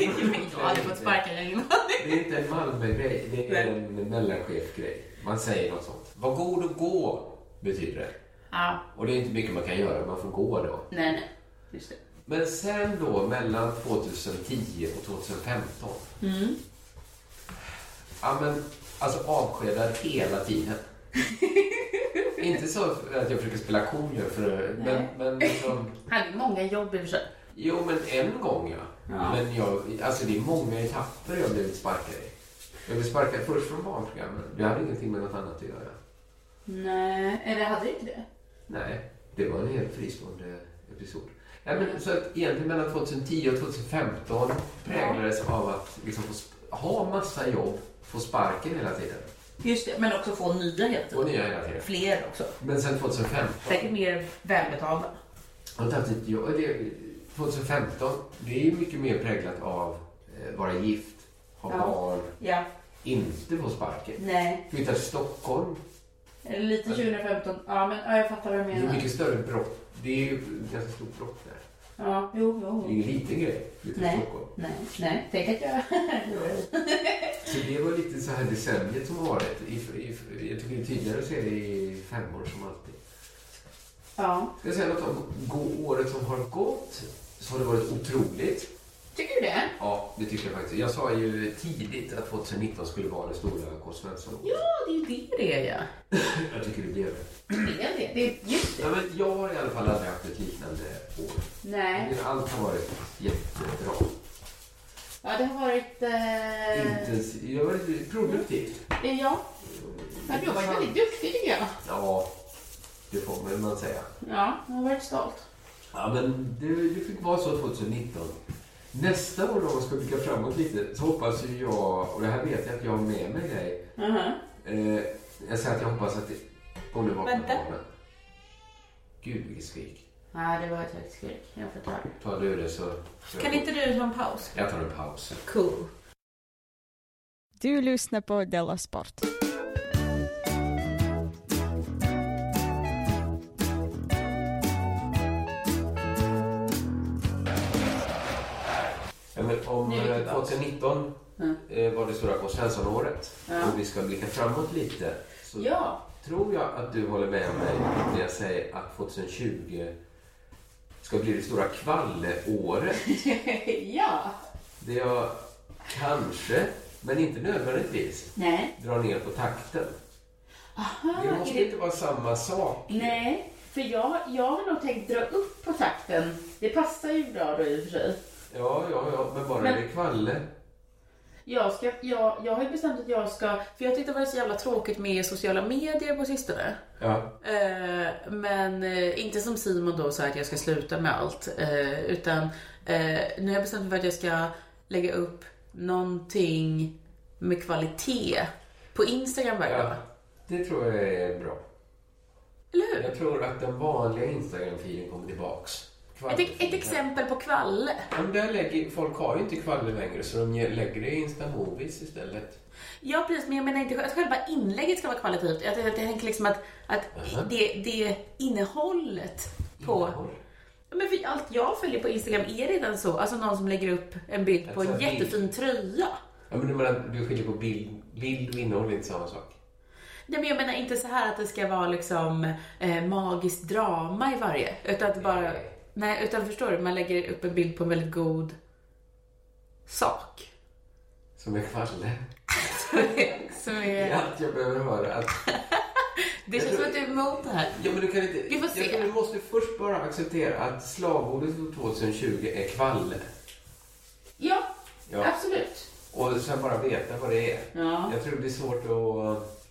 Jag har aldrig fått sparken innan.
Det är inte en Malmö-grej, det är en mellanchef-grej. Man säger något sånt. Var god och gå, betyder det.
Ja,
Och det är inte mycket man kan göra, man får gå då.
nej, nej. Just det.
Men sen då, mellan 2010 och 2015. Ja, men alltså avskedad hela tiden. inte så att jag försöker spela cool nu, för, men, men liksom,
Hade ju många jobb i och för sig.
Jo, men en gång ja. Men jag, alltså det är många etapper jag blivit sparkad i. Jag blev sparkad först från barnprogrammen. Det hade ingenting med något annat att göra.
Nej, eller hade inte det?
Nej, det var en helt fristående episod. Nej, men, så att egentligen mellan 2010 och 2015 präglades av att liksom få sp- ha massa jobb, få sparken hela tiden.
Just det, men också få nya helt
Och nya hela tiden.
Fler också.
Men sen 2015
Säkert mer välbetalda.
har jag inte haft ett jobb. Det, 2015, det är ju mycket mer präglat av eh, vara gift, ha
Ja.
barn,
Ja.
inte få sparken.
Nej.
Flytta till Stockholm.
Eller Lite
Alltså-
2015. Ja, men ja, jag fattar vad du
Det är
menar.
mycket större brott. Det är ju ett ganska stort brott där.
Ja, jo, jo.
Det är ingen liten grej. Flytta till
Nej,
Stockholm.
nej, nej. Tänk att jag... <laughs>
Så det var lite så här decenniet som har varit. I, i, jag tycker det är tydligare att se det i femmor som alltid.
ja.
Ska jag säga något om gå- året som har gått? Så har det varit otroligt.
Tycker du det?
Ja, det tycker jag faktiskt. Jag sa ju tidigt att 2019 skulle vara det stora K. Svensson-året.
Ja, det är ju det det är, ja.
Jag tycker det blev det.
Det är det. det är just
Ja, men jag har i alla fall aldrig haft ett liknande år.
Nej.
Allt har varit jättebra.
Ja, det har varit... Eh...
Intensivt. Det har varit produktivt.
Ja.
Mm.
Men du har varit väldigt duktig, tycker jag.
Ja, det får man man säga.
Ja, jag har varit stolt.
Ja, men det, det fick vara så 2019. Nästa år då, om man ska blicka framåt lite, så hoppas ju jag, och det här vet jag att jag har med mig dig.
Mhm.
Eh, jag säger att jag hoppas att det... Om du vaknar på
Vänta.
morgonen. Gud, vilket skrik.
Ja, det var ett högt skrik. Jag förstår.
Tar du det så... så
Kan inte du ta en paus?
Jag tar en paus.
Cool.
Du lyssnar på Della Sport.
Ja, men om
Nu är vi
eh,
tillbaka.
2019
Mm.
eh, var det stora K. Svensson-året
Ja.
och vi ska blicka framåt lite så
Ja. <laughs>
tror jag att du håller med mig när jag säger att 2020 ska bli det stora kvalleåret.
ja.
Det jag kanske, men inte nödvändigtvis,
Nej.
drar ner på takten.
Aha,
Det måste
är det...
inte vara samma sak.
Nej, för jag, jag har nog tänkt dra upp på takten. Det passar ju bra då i och för sig.
Ja, ja, ja, men bara
Men-
det är kvalle.
Jag, ska, jag, jag har ju bestämt att jag ska, för jag tyckte det var så jävla tråkigt med sociala medier på sistone.
Ja.
Eh, men eh, inte som Simon då så att jag ska sluta med allt. Eh, utan eh, nu har jag bestämt mig för att jag ska lägga upp någonting med kvalitet på Instagram varje dag.
Det tror jag är bra.
Eller hur?
Jag tror att den vanliga Instagram-filen kommer tillbaks.
Ett, ett exempel på kvalle.
Ja, men där lägger, folk har ju inte kvaller längre så de ge- lägger det i Instamovies istället.
Ja precis, men jag menar inte att själva inlägget ska vara kvalitativt. Jag tänker- jag tänker liksom att, att det, det innehållet på... Ja, Men för allt jag följer på Instagram är redan så. Alltså någon som lägger upp en bild på
Alltså,
en
bild.
jättefin tröja.
Ja, men du, menar, du skiljer på bild, bild och innehåll, det är inte samma sak.
Nej men jag menar inte så här att det ska vara liksom eh, magiskt drama i varje. Utan att bara... Nej, utan förstår du? Man lägger upp en bild på en väldigt god sak.
Som är kvalle.
<laughs> Som är...
Allt jag behöver höra. Att,
Det känns som att du är emot det här.
ja, men du kan inte...
Vi får se.
Jag tror du måste först bara acceptera att slagordet för 2020 är kvalle.
Ja,
Ja.
absolut.
Och sen bara veta vad det är.
Ja.
Jag tror det blir svårt att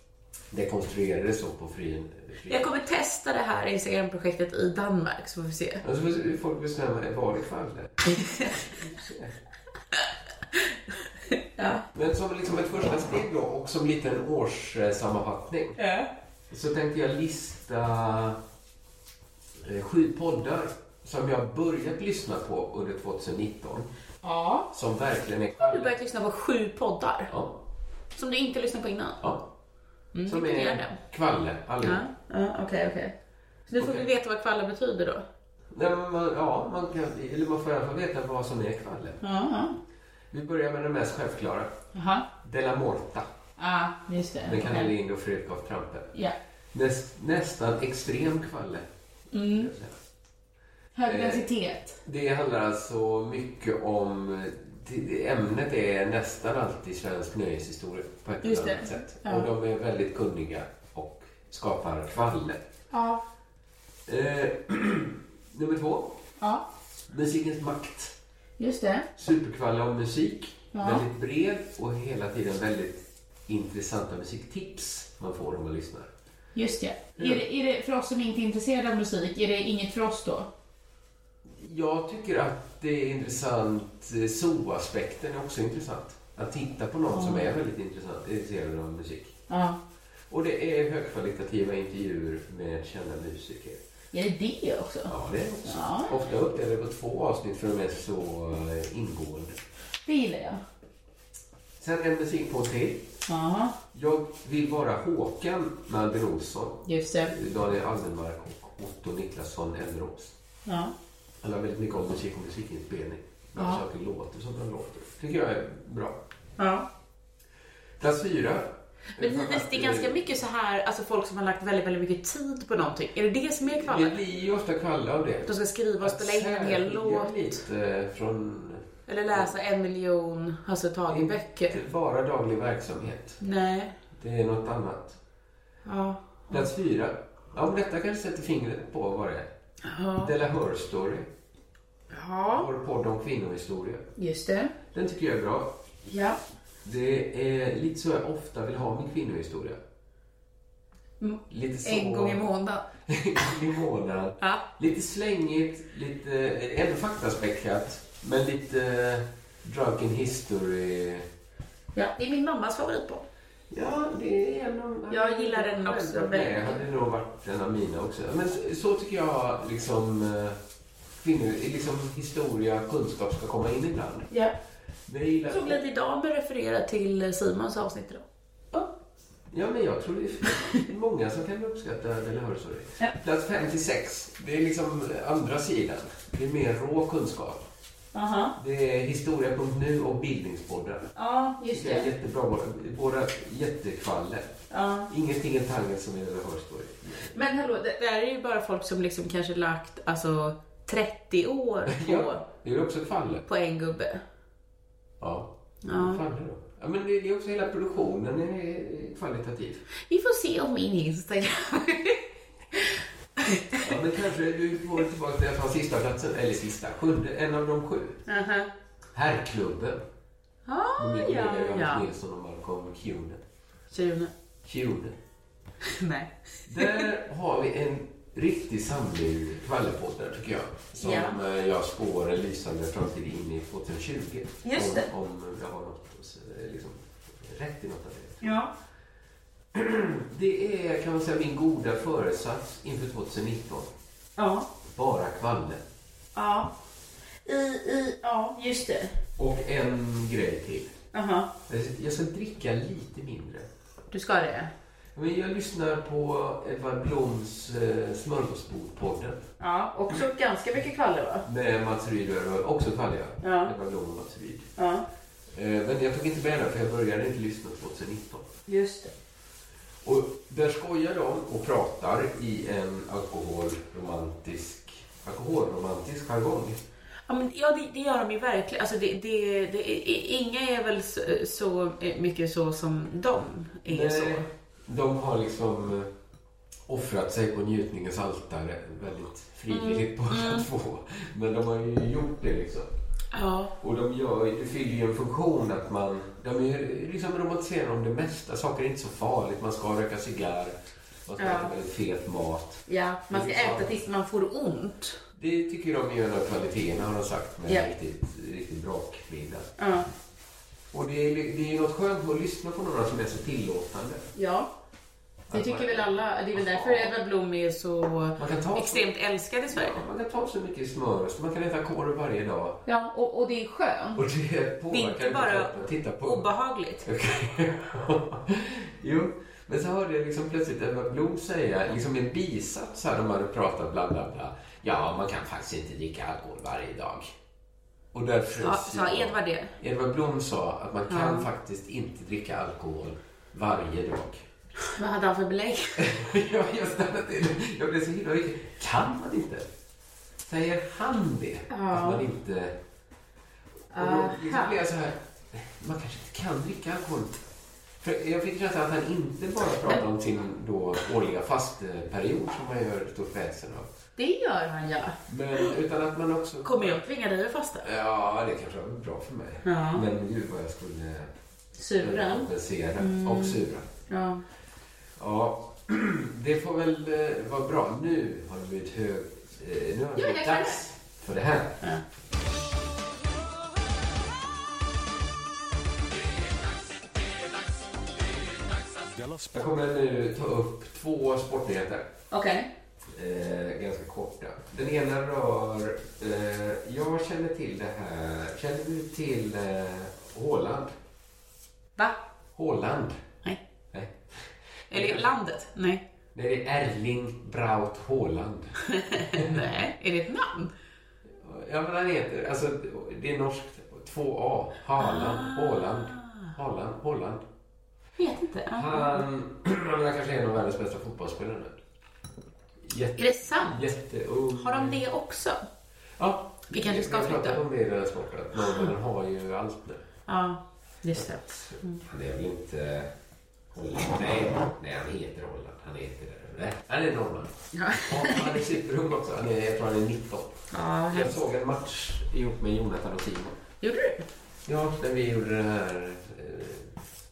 dekonstruera det så på fri... fri.
Jag kommer testa det här Instagram-projektet i Danmark så får vi se.
Men så får folk bestämma, var det kvalle?
Ja.
Men som liksom ett första steg då och som liten årssammanfattning
Ja.
så tänkte jag lista eh, sju poddar som jag börjat lyssna på under 2019
ja.
som verkligen är
Har du börjat lyssna på sju poddar?
Ja.
Som du inte lyssnade på innan?
Ja.
Mm,
Som är
imponerande.
kvalle allihop.
Ja, ja, okej, okej. Så nu får vi veta vad kvalle betyder då?
Nej, men man, ja, man, kan, eller man får i alla fall veta vad som är kvalle.
Ja.
Vi börjar med den mest självklara.
Jaha.
Della Morta.
Ja, just det.
Den kan hälla in och fröka av trampen.
Ja.
Näst, nästan extrem kvalle.
Mm. Hög
Eh.
densitet.
Det handlar alltså mycket om... det- Ämnet är nästan alltid svensk nöjeshistoria på ett
Just
eller annat
det.
sätt.
Ja.
Och de är väldigt kunniga och skapar kvalle.
Ja.
Eh, <clears throat> nummer två.
Ja.
Musikens makt.
Just det.
Superkvalle om musik.
Ja.
Väldigt bred och hela tiden väldigt intressanta musiktips man får om man lyssnar.
Just det.
Ja.
Är det, är det. För oss som inte är intresserade av musik, är det inget för oss då?
Jag tycker att det är intressant. eh, Zoo-aspekten är också intressant. Att titta på någon
Ja.
som är väldigt intressant, intresserad av musik.
Ja.
Och det är högkvalitativa intervjuer med kända musiker.
Är det det också?
Ja, det är också. Ofta upplever jag på två avsnitt för de är så eh, ingående.
Det gillar jag.
Sen en musik på till.
Ja,
Jag vill vara Håkan med Albin Olsson.
just det.
Daniel Aldermark och Otto Niklasson Elderos.
Ja.
Han har väldigt mycket om musik och musikinspelning. Men
Ja.
saker låter som de låter. tycker jag är bra.
Ja.
Plats fyra.
Men hittills,
eh,
det är ganska mycket så här, alltså folk som har lagt väldigt, väldigt mycket tid på någonting. Är det det som är
Det
kvaller?
blir ju ofta kvalle av det.
De ska skriva och spela in en hel låt.
lite från
Eller läsa en miljon alltså Hasse
Mm.
Tage-böcker.
bara daglig verksamhet.
Nej.
Det är något annat.
Ja.
Plats fyra. Ja, men detta kanske sätter fingret på vad det är.
Ja.
Delahör Story.
Ja.
Vår podd om kvinnohistoria.
Just det.
Den tycker jag är bra.
Ja.
Det är lite så jag ofta vill ha min kvinnohistoria. <laughs>
Mm.
Lite så...
En gång i månaden.
i månaden.
Ja.
Lite slängigt, lite, ändå faktaspäckat, men lite drunken history.
Ja, det är min mammas favoritbok.
Ja, det är en av...
Jag gillar den också.
Självklart, nej,
väldigt
Det
mycket.
hade nog varit en av mina också. Men så, så tycker jag liksom, eh, kvinnor, liksom historia, kunskap ska komma in ibland.
Ja.
Men jag gillar...
Jag såg lite idag med referera till eh, Simons avsnitt idag.
Ja, men jag tror det är många som kan uppskatta Delahör Story.
Ja.
Plats 56, det är liksom andra sidan. Det är mer rå kunskap.
Aha.
Det är historia.nu och bildningspodden.
Ja, just
Det är
det.
jättebra, båda- båda jättekvaller.
Ja.
Ingenting är tangen som är Delahör Story.
Men hallå, det, det här är ju bara folk som liksom kanske lagt alltså
<laughs>
30 år på,
Det är ju också kvaller.
på en gubbe.
Ja.
Ja.
Kvaller då. Ja, men det det är också hela produktionen är kvalitativ.
Vi får se om min Instagram. <laughs>
Ja, men kanske du får tillbaka till från sista platsen, eller sista, sjunde, en av de sju.
Aha.
Herrklubben.
Ah,
Med min
ja,
kollega Johannes
ja.
Nilsson och Malcolm Kuhnen.
Tjune.
Kuhnen.
Nej.
Där har vi en riktig samling kvallerpoddar tycker jag. Som
Ja.
eh, jag spår en lysande framtid in i 2020.
Just det.
Om, om jag har något, eh, liksom, rätt i något av det.
Ja.
Det är kan man säga min goda föresats inför 2019.
Ja.
Bara kvaller.
Ja. I, i, ja, just det.
Och en grej till.
Aha.
Jag- Jag ska dricka lite mindre.
Du ska det?
Men jag lyssnar på Edvard Bloms eh, Smörgåsbordpodden.
Ja, också ganska mycket kvaller va?
Med Mats Ryd och också Kalja.
Ja.
Edvard Blom och Mats Ryd.
Ja,
Eh, Men jag tog inte med den för jag började inte lyssna 2019.
just det.
Och där skojar de och pratar i en alkoholromantisk alkoholromantisk jargong.
Ja, men, ja det, det gör de ju verkligen. Alltså, det, det, det, i- inga är väl så, så mycket så som de är
Nej,
så.
De har liksom eh, offrat sig på njutningens altare väldigt frivilligt
Mm,
båda två. Men de har ju gjort det liksom.
Ja,
Och de gör, ju- det fyller ju en funktion att man... De är ju liksom romantiserar om det mesta. Saker är inte så farligt. Man ska röka cigarr. Man ska
Ja.
äta väldigt fet mat.
ja, man ska
Det är
äta tills man får ont.
Det tycker de är en av kvaliteterna har de sagt med
Ja.
riktigt, riktigt brakmiddag.
Ja.
Och det är, det är ju något skönt med att lyssna på några som är så tillåtande.
ja. Det
Att
tycker
Alltså, man-
väl alla. Det är väl därför Edvard Blom är så
kan ta-
extremt älskad i Sverige.
Man kan ta så mycket smör, så man kan äta korv varje dag.
Ja, och, och det är skönt.
Och det
Det är
påverkar
inte bara
kroppen. Titta på
obehagligt.
<laughs> Jo, men så hörde jag liksom plötsligt Edvard Blom säga, liksom en bisats här de hade pratat bla bla bla. Ja, man kan faktiskt inte dricka alkohol varje dag. Och där frös
Ja, sa
jag.
Edvard det?
Edvard Blom sa att man kan
Ja.
faktiskt inte dricka alkohol varje dag. <laughs>
Vad hade han för <laughs> belägg?
jag, jag stannade till. Jag blev så himla mycket. Kan man inte? Säger han det? Att man inte... Och då liksom
Aha.
blev jag så här. Man kanske inte kan dricka alkohol. För jag fick känslan att han inte bara pratade om sin då årliga fastperiod som man gör stort väsen av.
Det gör han ja.
Men utan att man också...
Kommer jag tvinga dig att fasta?
Ja, det kanske var bra för mig.
Ja.
Men gud vad jag skulle...
Sura.
Kompensera
Mm.
och sura.
Ja.
Ja, <clears throat> det får väl eh, vara bra. Nu har det blivit hög... eh, Nu har det
Ja,
blivit
jag kan
dags för det här. Jag kommer nu ta upp två sportnyheter.
Okej.
eh, ganska korta. Den ena rör... Eh, jag känner till det här. Känner du till eh, Håland?
Va?
Håland?
Nej.
Nej.
Eller landet? Nej.
Nej, det är Erling Braut Haaland.
Nej, är det ett namn?
Ja, men han heter... Alltså, det är norskt. Två A.
Ah.
Haaland. Haaland. Haaland. Haaland.
Vet inte. Ah.
Han, <clears throat> han är kanske en av världens bästa fotbollsspelare nu. Jätte,
Är det sant?
Jätteung.
Har de det också?
Ja.
Vi kanske ska
Vi har pratat
flytta.
om det i den här sporten. att Norrmännen har ju allt nu.
Ja, just det. Mm.
Han är väl inte... Holland? Nej, nej, han heter Holland. Han heter det. Nej, han är norrman.
Ja.
Och Han är superung också. Han är, jag tror han är 19.
Ja,
jag
hemskt.
såg en match ihop med Jonathan och Simon.
Gjorde du?
Ja, när vi gjorde det här... eh,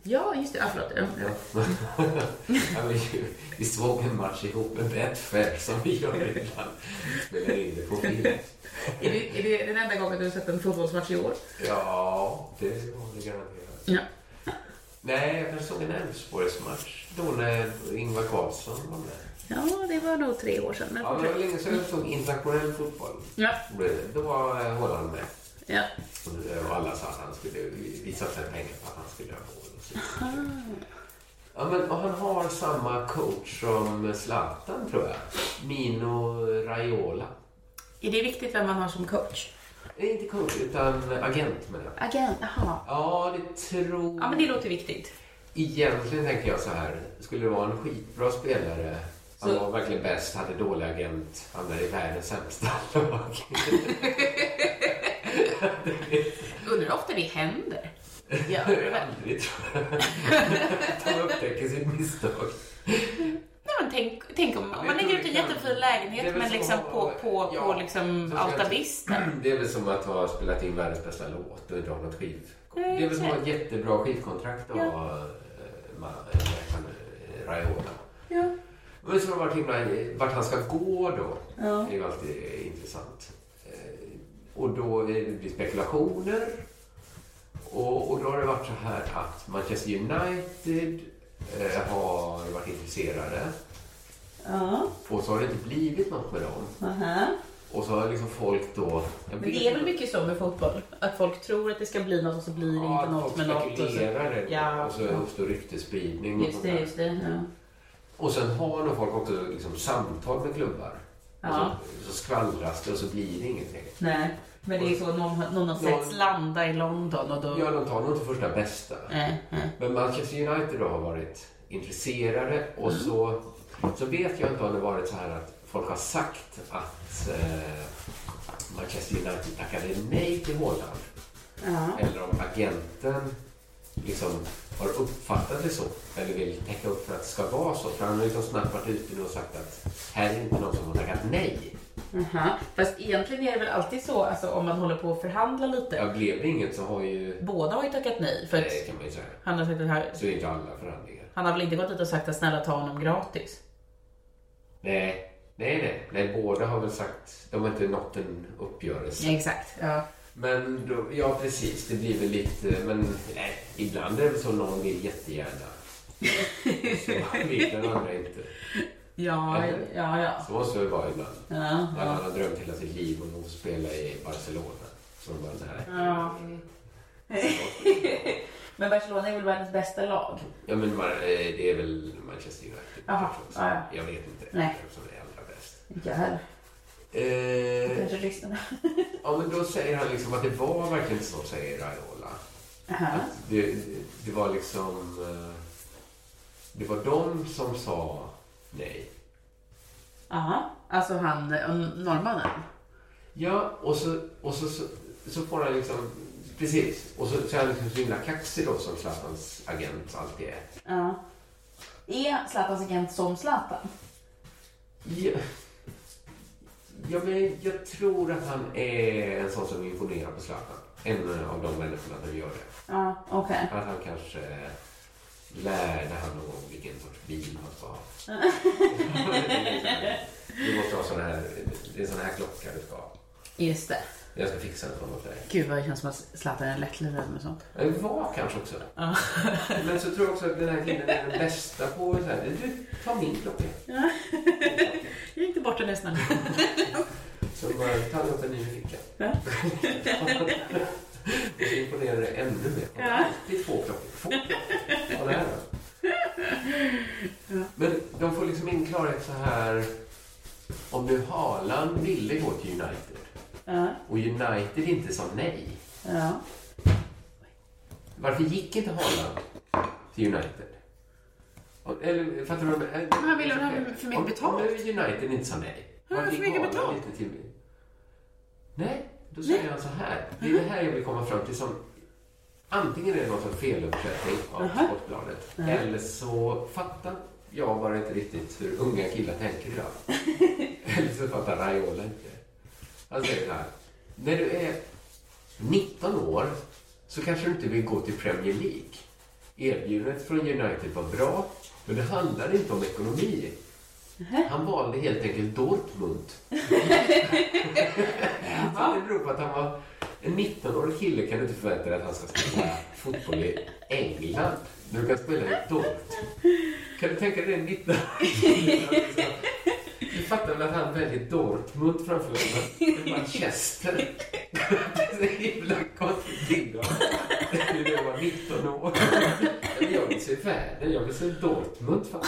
Ja, just det. Ja, förlåt. Ja.
Ja. <laughs> ja, vi, vi såg en match ihop med Betfair som vi gör ibland. Spelar in det på film.
Är, det, är det den enda gången du har sett en fotbollsmatch i år?
Ja, det var det garanterat.
Ja.
Nej, jag kanske såg en Elfsborgsmatch då när Ingvar Carlsson var med.
Ja, det var nog tre år sedan. Men...
Ja, det var länge sedan jag såg internationell fotboll.
Ja.
Då var eh, Holland med.
Ja.
Och, eh, alla sa att han skulle, vi vi satsade pengar på att han skulle ha mål. och så. Ja, men, och han har samma coach som Zlatan, tror jag. Mino Raiola.
Är det viktigt vem man har som coach?
Eh, Inte coach, utan agent menar jag.
Agent, jaha.
Ja, det tror
Ja, men det låter viktigt.
Egentligen tänker jag så här. Skulle det vara en skitbra spelare, han var verkligen bäst, hade dålig agent, hamnade i världens sämsta <laughs> lag.
Undrar hur ofta det händer? <laughs> Ja,
Aldrig tror jag. <laughs> Att han upptäcker sitt misstag.
Nej, men tänk, tänk om, om man lägger ut en jättefin
Det är
lägenhet
väl
men
så-
liksom på, på, på liksom
så ska jag-
altavista.
Det är väl som att ha spelat in världens bästa låt och inte ha något skiv...
Mm,
Det är väl som att ha ett
exakt.
jättebra skivkontrakt av
Ja.
eh, Raiola.
Ja.
Men så har det varit himla... Vart han ska gå då.
Ja.
Det är ju alltid intressant. Eh, Och då är det blir spekulationer. Och, och då har det varit så här att Manchester United eh, har varit intresserade.
Ja.
Och så har det inte blivit något med dem.
Aha.
Och så har liksom folk då... Jag
Men det är väl mycket så med fotboll? Att folk tror att det ska bli något och så blir det
Ja,
inte något med något.
och
Och
så,
så.
ja.
Ja.
och så uppstår ryktesspridning. och
Just det,
sånt där.
just det. Ja.
Och sen har nog folk också liksom samtal med klubbar.
Ja.
Och så, så skvallras det och så blir det ingenting.
Nej, men det är så någon, har- någon har setts
Någon-
landa i London och då... Eh,
Ja, de tar nog inte första bästa. Men Manchester United då har varit intresserade och
Mm.
så, så vet jag inte om det varit så här att folk har sagt att eh, Manchester United tackade nej till Haaland.
Ja.
Eller om agenten liksom har uppfattat det så eller vill täcka upp för att det ska vara så. För han har liksom snabbt varit ute nu och sagt att här är inte någon som har tackat nej.
Aha. Fast egentligen är det väl alltid så, alltså, om man håller på att förhandla lite.
Ja, blev det inget så har ju...
Båda har ju tackat nej. För
Det
att
kan man ju säga.
han, har sagt att här,
Så är inte alla förhandlingar.
han har väl inte gått ut och sagt att snälla ta honom gratis?
Nej, nej, nej. nej båda har väl sagt... De har inte nått en uppgörelse.
Ja, exakt. Ja.
Men då, ja, precis. Det blir väl lite... Men nej, ibland är det väl så någon vill jättegärna. Så vill den andra inte.
Ja,
Eller?
ja, ja.
Så måste det vara ibland.
Ja,
När
ja.
man har drömt hela sitt liv om att få spela i Barcelona. Så bara, nej.
ja. <laughs> Men Barcelona är väl världens bästa lag?
Ja, men man, eh, det är väl Manchester United.
Jaha,
kanske också.
ja, ja.
Jag vet inte
Nej.
vem som är allra bäst.
Inte jag heller.
Eh,
Kanske lyssnarna.
Ja, men då säger han liksom att det var verkligen inte så, säger Raiola.
<laughs> Aha.
Det, det- det var liksom... eh, Det var de som sa nej.
Aha. Alltså han eh, norrmannen?
Ja, och så, och så, så, så får han liksom... Precis. Och så, så är han liksom så himla kaxig då som Zlatans agent alltid är.
Ja. Är Zlatans agent som Zlatan?
Ja, ja men jag tror att han är en sån som imponerar på Zlatan. En av de människorna som gör det.
Ja, okej.
Att han kanske lärde han någon gång vilken sorts bil man ska ha. Du måste ha sån här, det är sån här klocka du ska ha.
Just det.
Jag ska fixa en sån åt dig.
Gud vad det känns som att Zlatan är lättlurad med sånt.
Ja, Det var kanske också. Men så tror jag också att den här killen är den bästa på så här, du, ta min klocka.
Jag är inte bort den där snälla.
Så bara ta låten i fickan. Och så imponerar <laughs> det ännu mer.
Ja.
Det är två klockor. Två klockor. Vad är det här då? Men de får liksom in klarhet så här. Om nu Haaland ville gå till United
<laughs> Ja.
och United inte sa nej.
Ja.
Varför gick inte Haaland till United? Och- Eller fattar du vad jag menar?
Men han ville väl ha för mycket
Om-
betalt?
Om nu United inte sa nej.
Han
varför
ville för
gick
mycket
Haaland
betalt.
inte till Nej, då säger han så här. Det
Mm-hmm.
är det här jag vill komma fram till som antingen är det någon sorts feluppsättning av Sportbladet
Mhm.
eller så fattar jag bara inte riktigt hur unga killar tänker idag. eller så fattar Raiola inte. Han säger så här. När du är 19 år så kanske du inte vill gå till Premier League. Erbjudandet från United var bra, men det handlade inte om ekonomi. Han valde helt enkelt Dortmund. Så det beror på att han var en 19-årig kille kan du inte förvänta dig att han ska spela fotboll i England. Men du kan spela i Dortmund. Kan du tänka dig det en 19-årig kille? Alltså, Du fattar väl att han väljer Dortmund framför Manchester? Det är så himla konstig bild av hur det var 19 år. Men Jag vill se världen, jag vill se Dortmund. Fan.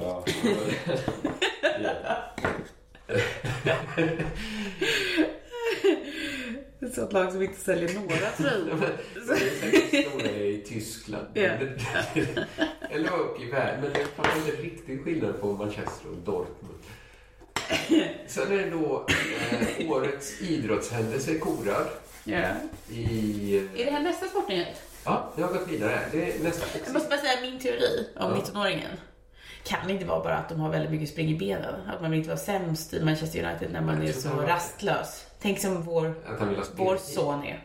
Ja.
Det är så ett lag som inte
<laughs>
säljer några tröjor.
Det är säkert stora i Tyskland.
Ja.
<laughs> Eller upp i världen. Men jag fattar inte riktigt skillnad på Manchester och Dortmund. Sen är det då eh, årets idrottshändelse i Korad.
Ja.
I... eh,
Är det här nästa sportnyhet?
Ja, jag har gått vidare. Det är nästa.
Jag måste bara säga min teori om
Ja.
19-åringen. Kan det inte vara bara att de har väldigt mycket spring i benen? Att man vill inte vara sämst i Manchester United när man
Jag
är
tror
så
han var-
rastlös. Tänk som vår,
Att han vill ha spel.
vår son är.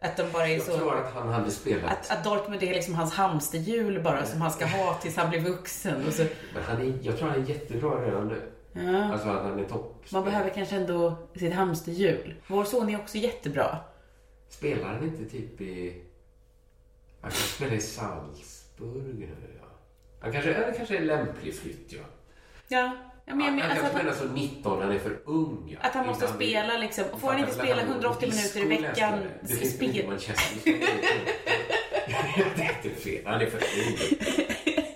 Att de bara är
Jag
så...
tror att han hade spelat.
Att, att Dortmund är liksom hans hamsterhjul bara som han ska ha tills han blir vuxen. Och så,
Men han är, jag tror han är jättebra redan nu.
Ja.
Alltså att han är topp.
man behöver kanske ändå sitt hamsterhjul. Vår son är också jättebra.
Spelar han inte typ i... Han kanske spelar i Salzburg nu, ja. Han kanske, han kanske är lämplig flytt, ja.
Ja, ja men jag
Han
menar alltså
kanske
att han,
spelar som 19, han är för ung. Ja.
att han måste
Innan vi-
spela liksom. Och får han
Fattar
inte
väl
spela
han-
180 minuter i
Disco läste jag
veckan.
det. Det finns väl inte
spel-
Manchester som är Jag tänkte fel. Han är för ung.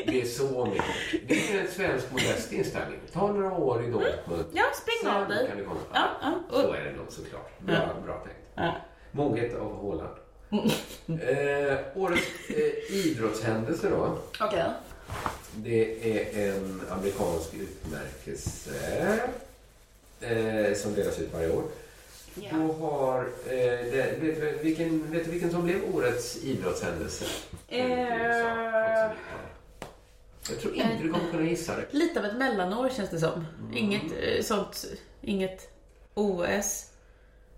Det är så mycket. Det är en svensk modest inställning. Ta några år i Dortmund.
Ja, spring Mm. av
Sen
dig.
kan det komma.
Ja, ja.
Så är det nog såklart. Bra,
Ja.
bra tänkt.
Ja.
Moget av Håland. eh, årets eh, idrottshändelse då.
Okej.
Det är en amerikansk utmärkelse eh, som delas ut varje år. Då har, eh, det, vet, du vilken, vet du vilken som blev årets idrottshändelse?
Eh,
Jag tror inte du kommer kunna gissa det.
Lite av ett mellanår känns det som. Inget eh, sånt, inget OS.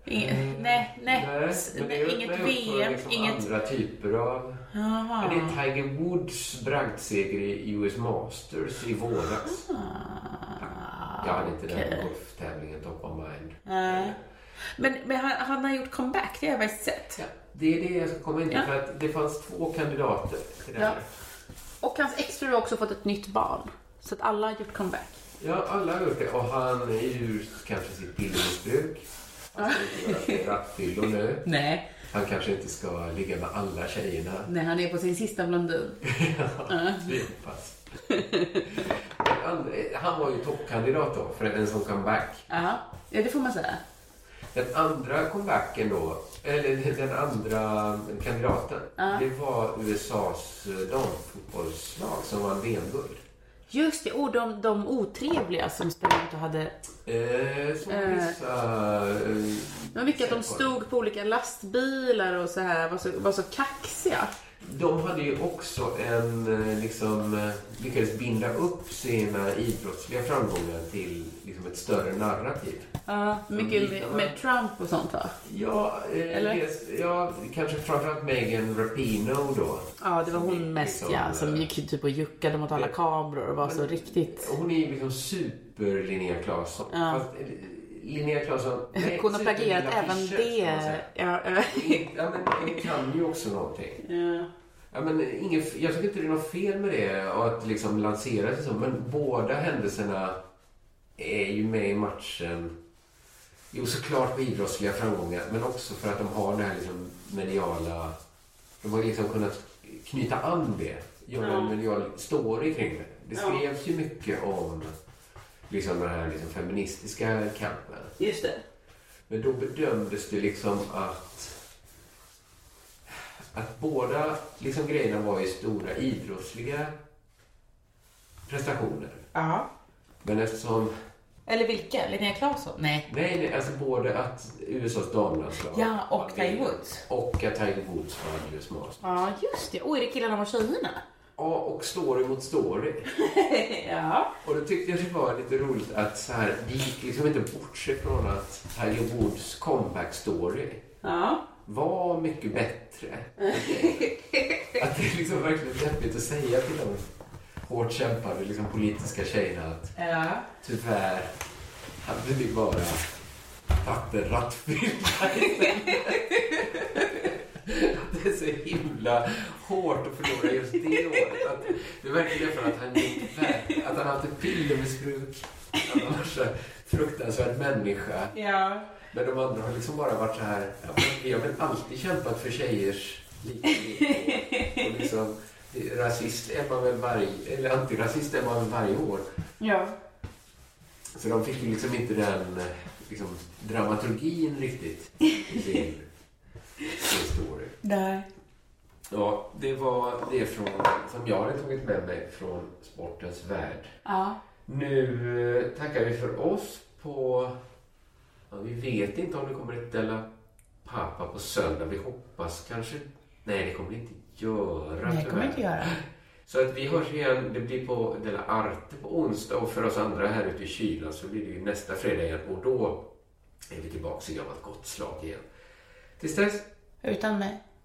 Inget, nej, nej, s-
men det
nej,
öppnar
inget
ju upp för
VM,
liksom
inget...
Andra typer av...
Jaha.
Men det är Tiger Woods bragdseger i US Masters i våras. Jag hade inte den
okej.
golftävlingen top of mind.
Ah, Nej. Men, men han, han har gjort comeback, det har jag faktiskt sett.
Det är det jag ska komma in till,
Ja.
för att det fanns två kandidater till det
Ja.
här.
Och hans exfru har också fått ett nytt barn. Så att alla har gjort comeback.
Ja, alla har gjort det. Och han är ju kanske sitt bilmissbruk. Han ska inte vara rattfyllo nu.
Nej.
Han kanske inte ska ligga med alla tjejerna.
När han är på sin sista blondin.
Vi hoppas. Han- Han var ju toppkandidat då för en sån comeback.
Ja, ja det får man säga.
Den andra comebacken då, eller den andra kandidaten,
Ja.
det var USAs eh, damfotbollslag som vann VM-guld.
Just det, och de, de otrevliga som sprang ut och hade...
Eh, som
Eh.
vissa... Eh,
Det var mycket att de stod på olika lastbilar och så här var så, var så kaxiga.
De hade ju också en, eh, liksom, eh, lyckades binda upp sina idrottsliga framgångar till liksom, ett större narrativ.
Ja, mycket
lite
med,
av-
med Trump och sånt va?
Ja, eh,
Eller?
dels- ja, kanske framförallt Megan Rapinoe då. liksom,
Ja, det var hon mest ja, som gick typ och juckade mot alla kameror och var så riktigt...
Hon är ju liksom super Linnea Claesson.
Ja.
Fast, eh, Linnea
<laughs>
Claesson... nej,
Hon har
super
plagierat
typ Lilla
även
Fischer, ska man
det.
säga.
Ja, ja.
<laughs> Ja, men hon kan ju också någonting.
Ja.
Ja, men inget, jag tycker inte det är något fel med det och att liksom lansera sig så. Men båda händelserna är ju med i matchen. Jo, såklart med idrottsliga framgångar, men också för att de har det här liksom mediala... De har liksom kunnat knyta an det, göra en medial story kring det. Det
Ja.
skrevs ju mycket om liksom den här liksom feministiska kampen.
Just det.
Men då bedömdes det liksom att att båda liksom grejerna var ju stora idrottsliga prestationer.
Ja.
Men eftersom...
Eller vilka? Linnea Claesson? Nej.
Nej, nej, alltså både att USAs damlandslag...
Ja, och Tiger Woods.
Och att Tiger Woods var alldeles smart.
Ja, just det. Och är det killarna mot tjejerna?
Ja, och story mot story.
ja.
Och då tyckte jag det var lite roligt att så här, det gick liksom inte bort sig från att Tiger Woods comeback-story
Ja.
var mycket bättre. att det är liksom verkligen lämpligt att säga till de hårt kämpande liksom, politiska tjejerna att typ
Ja.
tyvärr hade ni bara tagit en rattfylld Det är så himla hårt att förlora just det året. Att det verkar nästan att han inte vär- att han har haft ett pillermissbruk. Att han var så här fruktansvärd människa.
Ja.
Men de andra har liksom bara varit så här, ja, men vi har väl alltid kämpat för tjejers lika villkor. Och liksom, rasist är man väl varje, eller antirasist är man väl varje år.
Ja.
Så de fick ju liksom inte den eh, liksom, dramaturgin riktigt i sin, sin story.
Nej.
Ja, det var det från, som jag hade tagit med mig från sportens värld.
Ja.
Nu eh, tackar vi för oss på... Ja, vi vet inte om det kommer ett Della Pappa på söndag. Vi hoppas kanske... Nej, det kommer det inte göra.
Nej, det kommer
tyvärr.
inte göra.
Så att vi hörs igen. Det blir på Della Arte på onsdag och för oss andra här ute i kylan så blir det ju nästa fredag igen och då är vi tillbaka i gammalt gott slag igen. Tills dess,
Utan mig.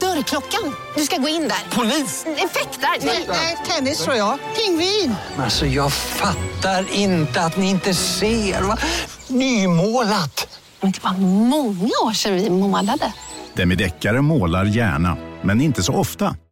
Dörrklockan. Du ska gå in där. Polis? Effektar? Nej, nej, tennis tror jag. Pingvin.
Alltså jag fattar inte att ni inte ser. Va? Nymålat!
Men det var många år sedan vi målade.
Demideckare målar gärna, men inte så ofta.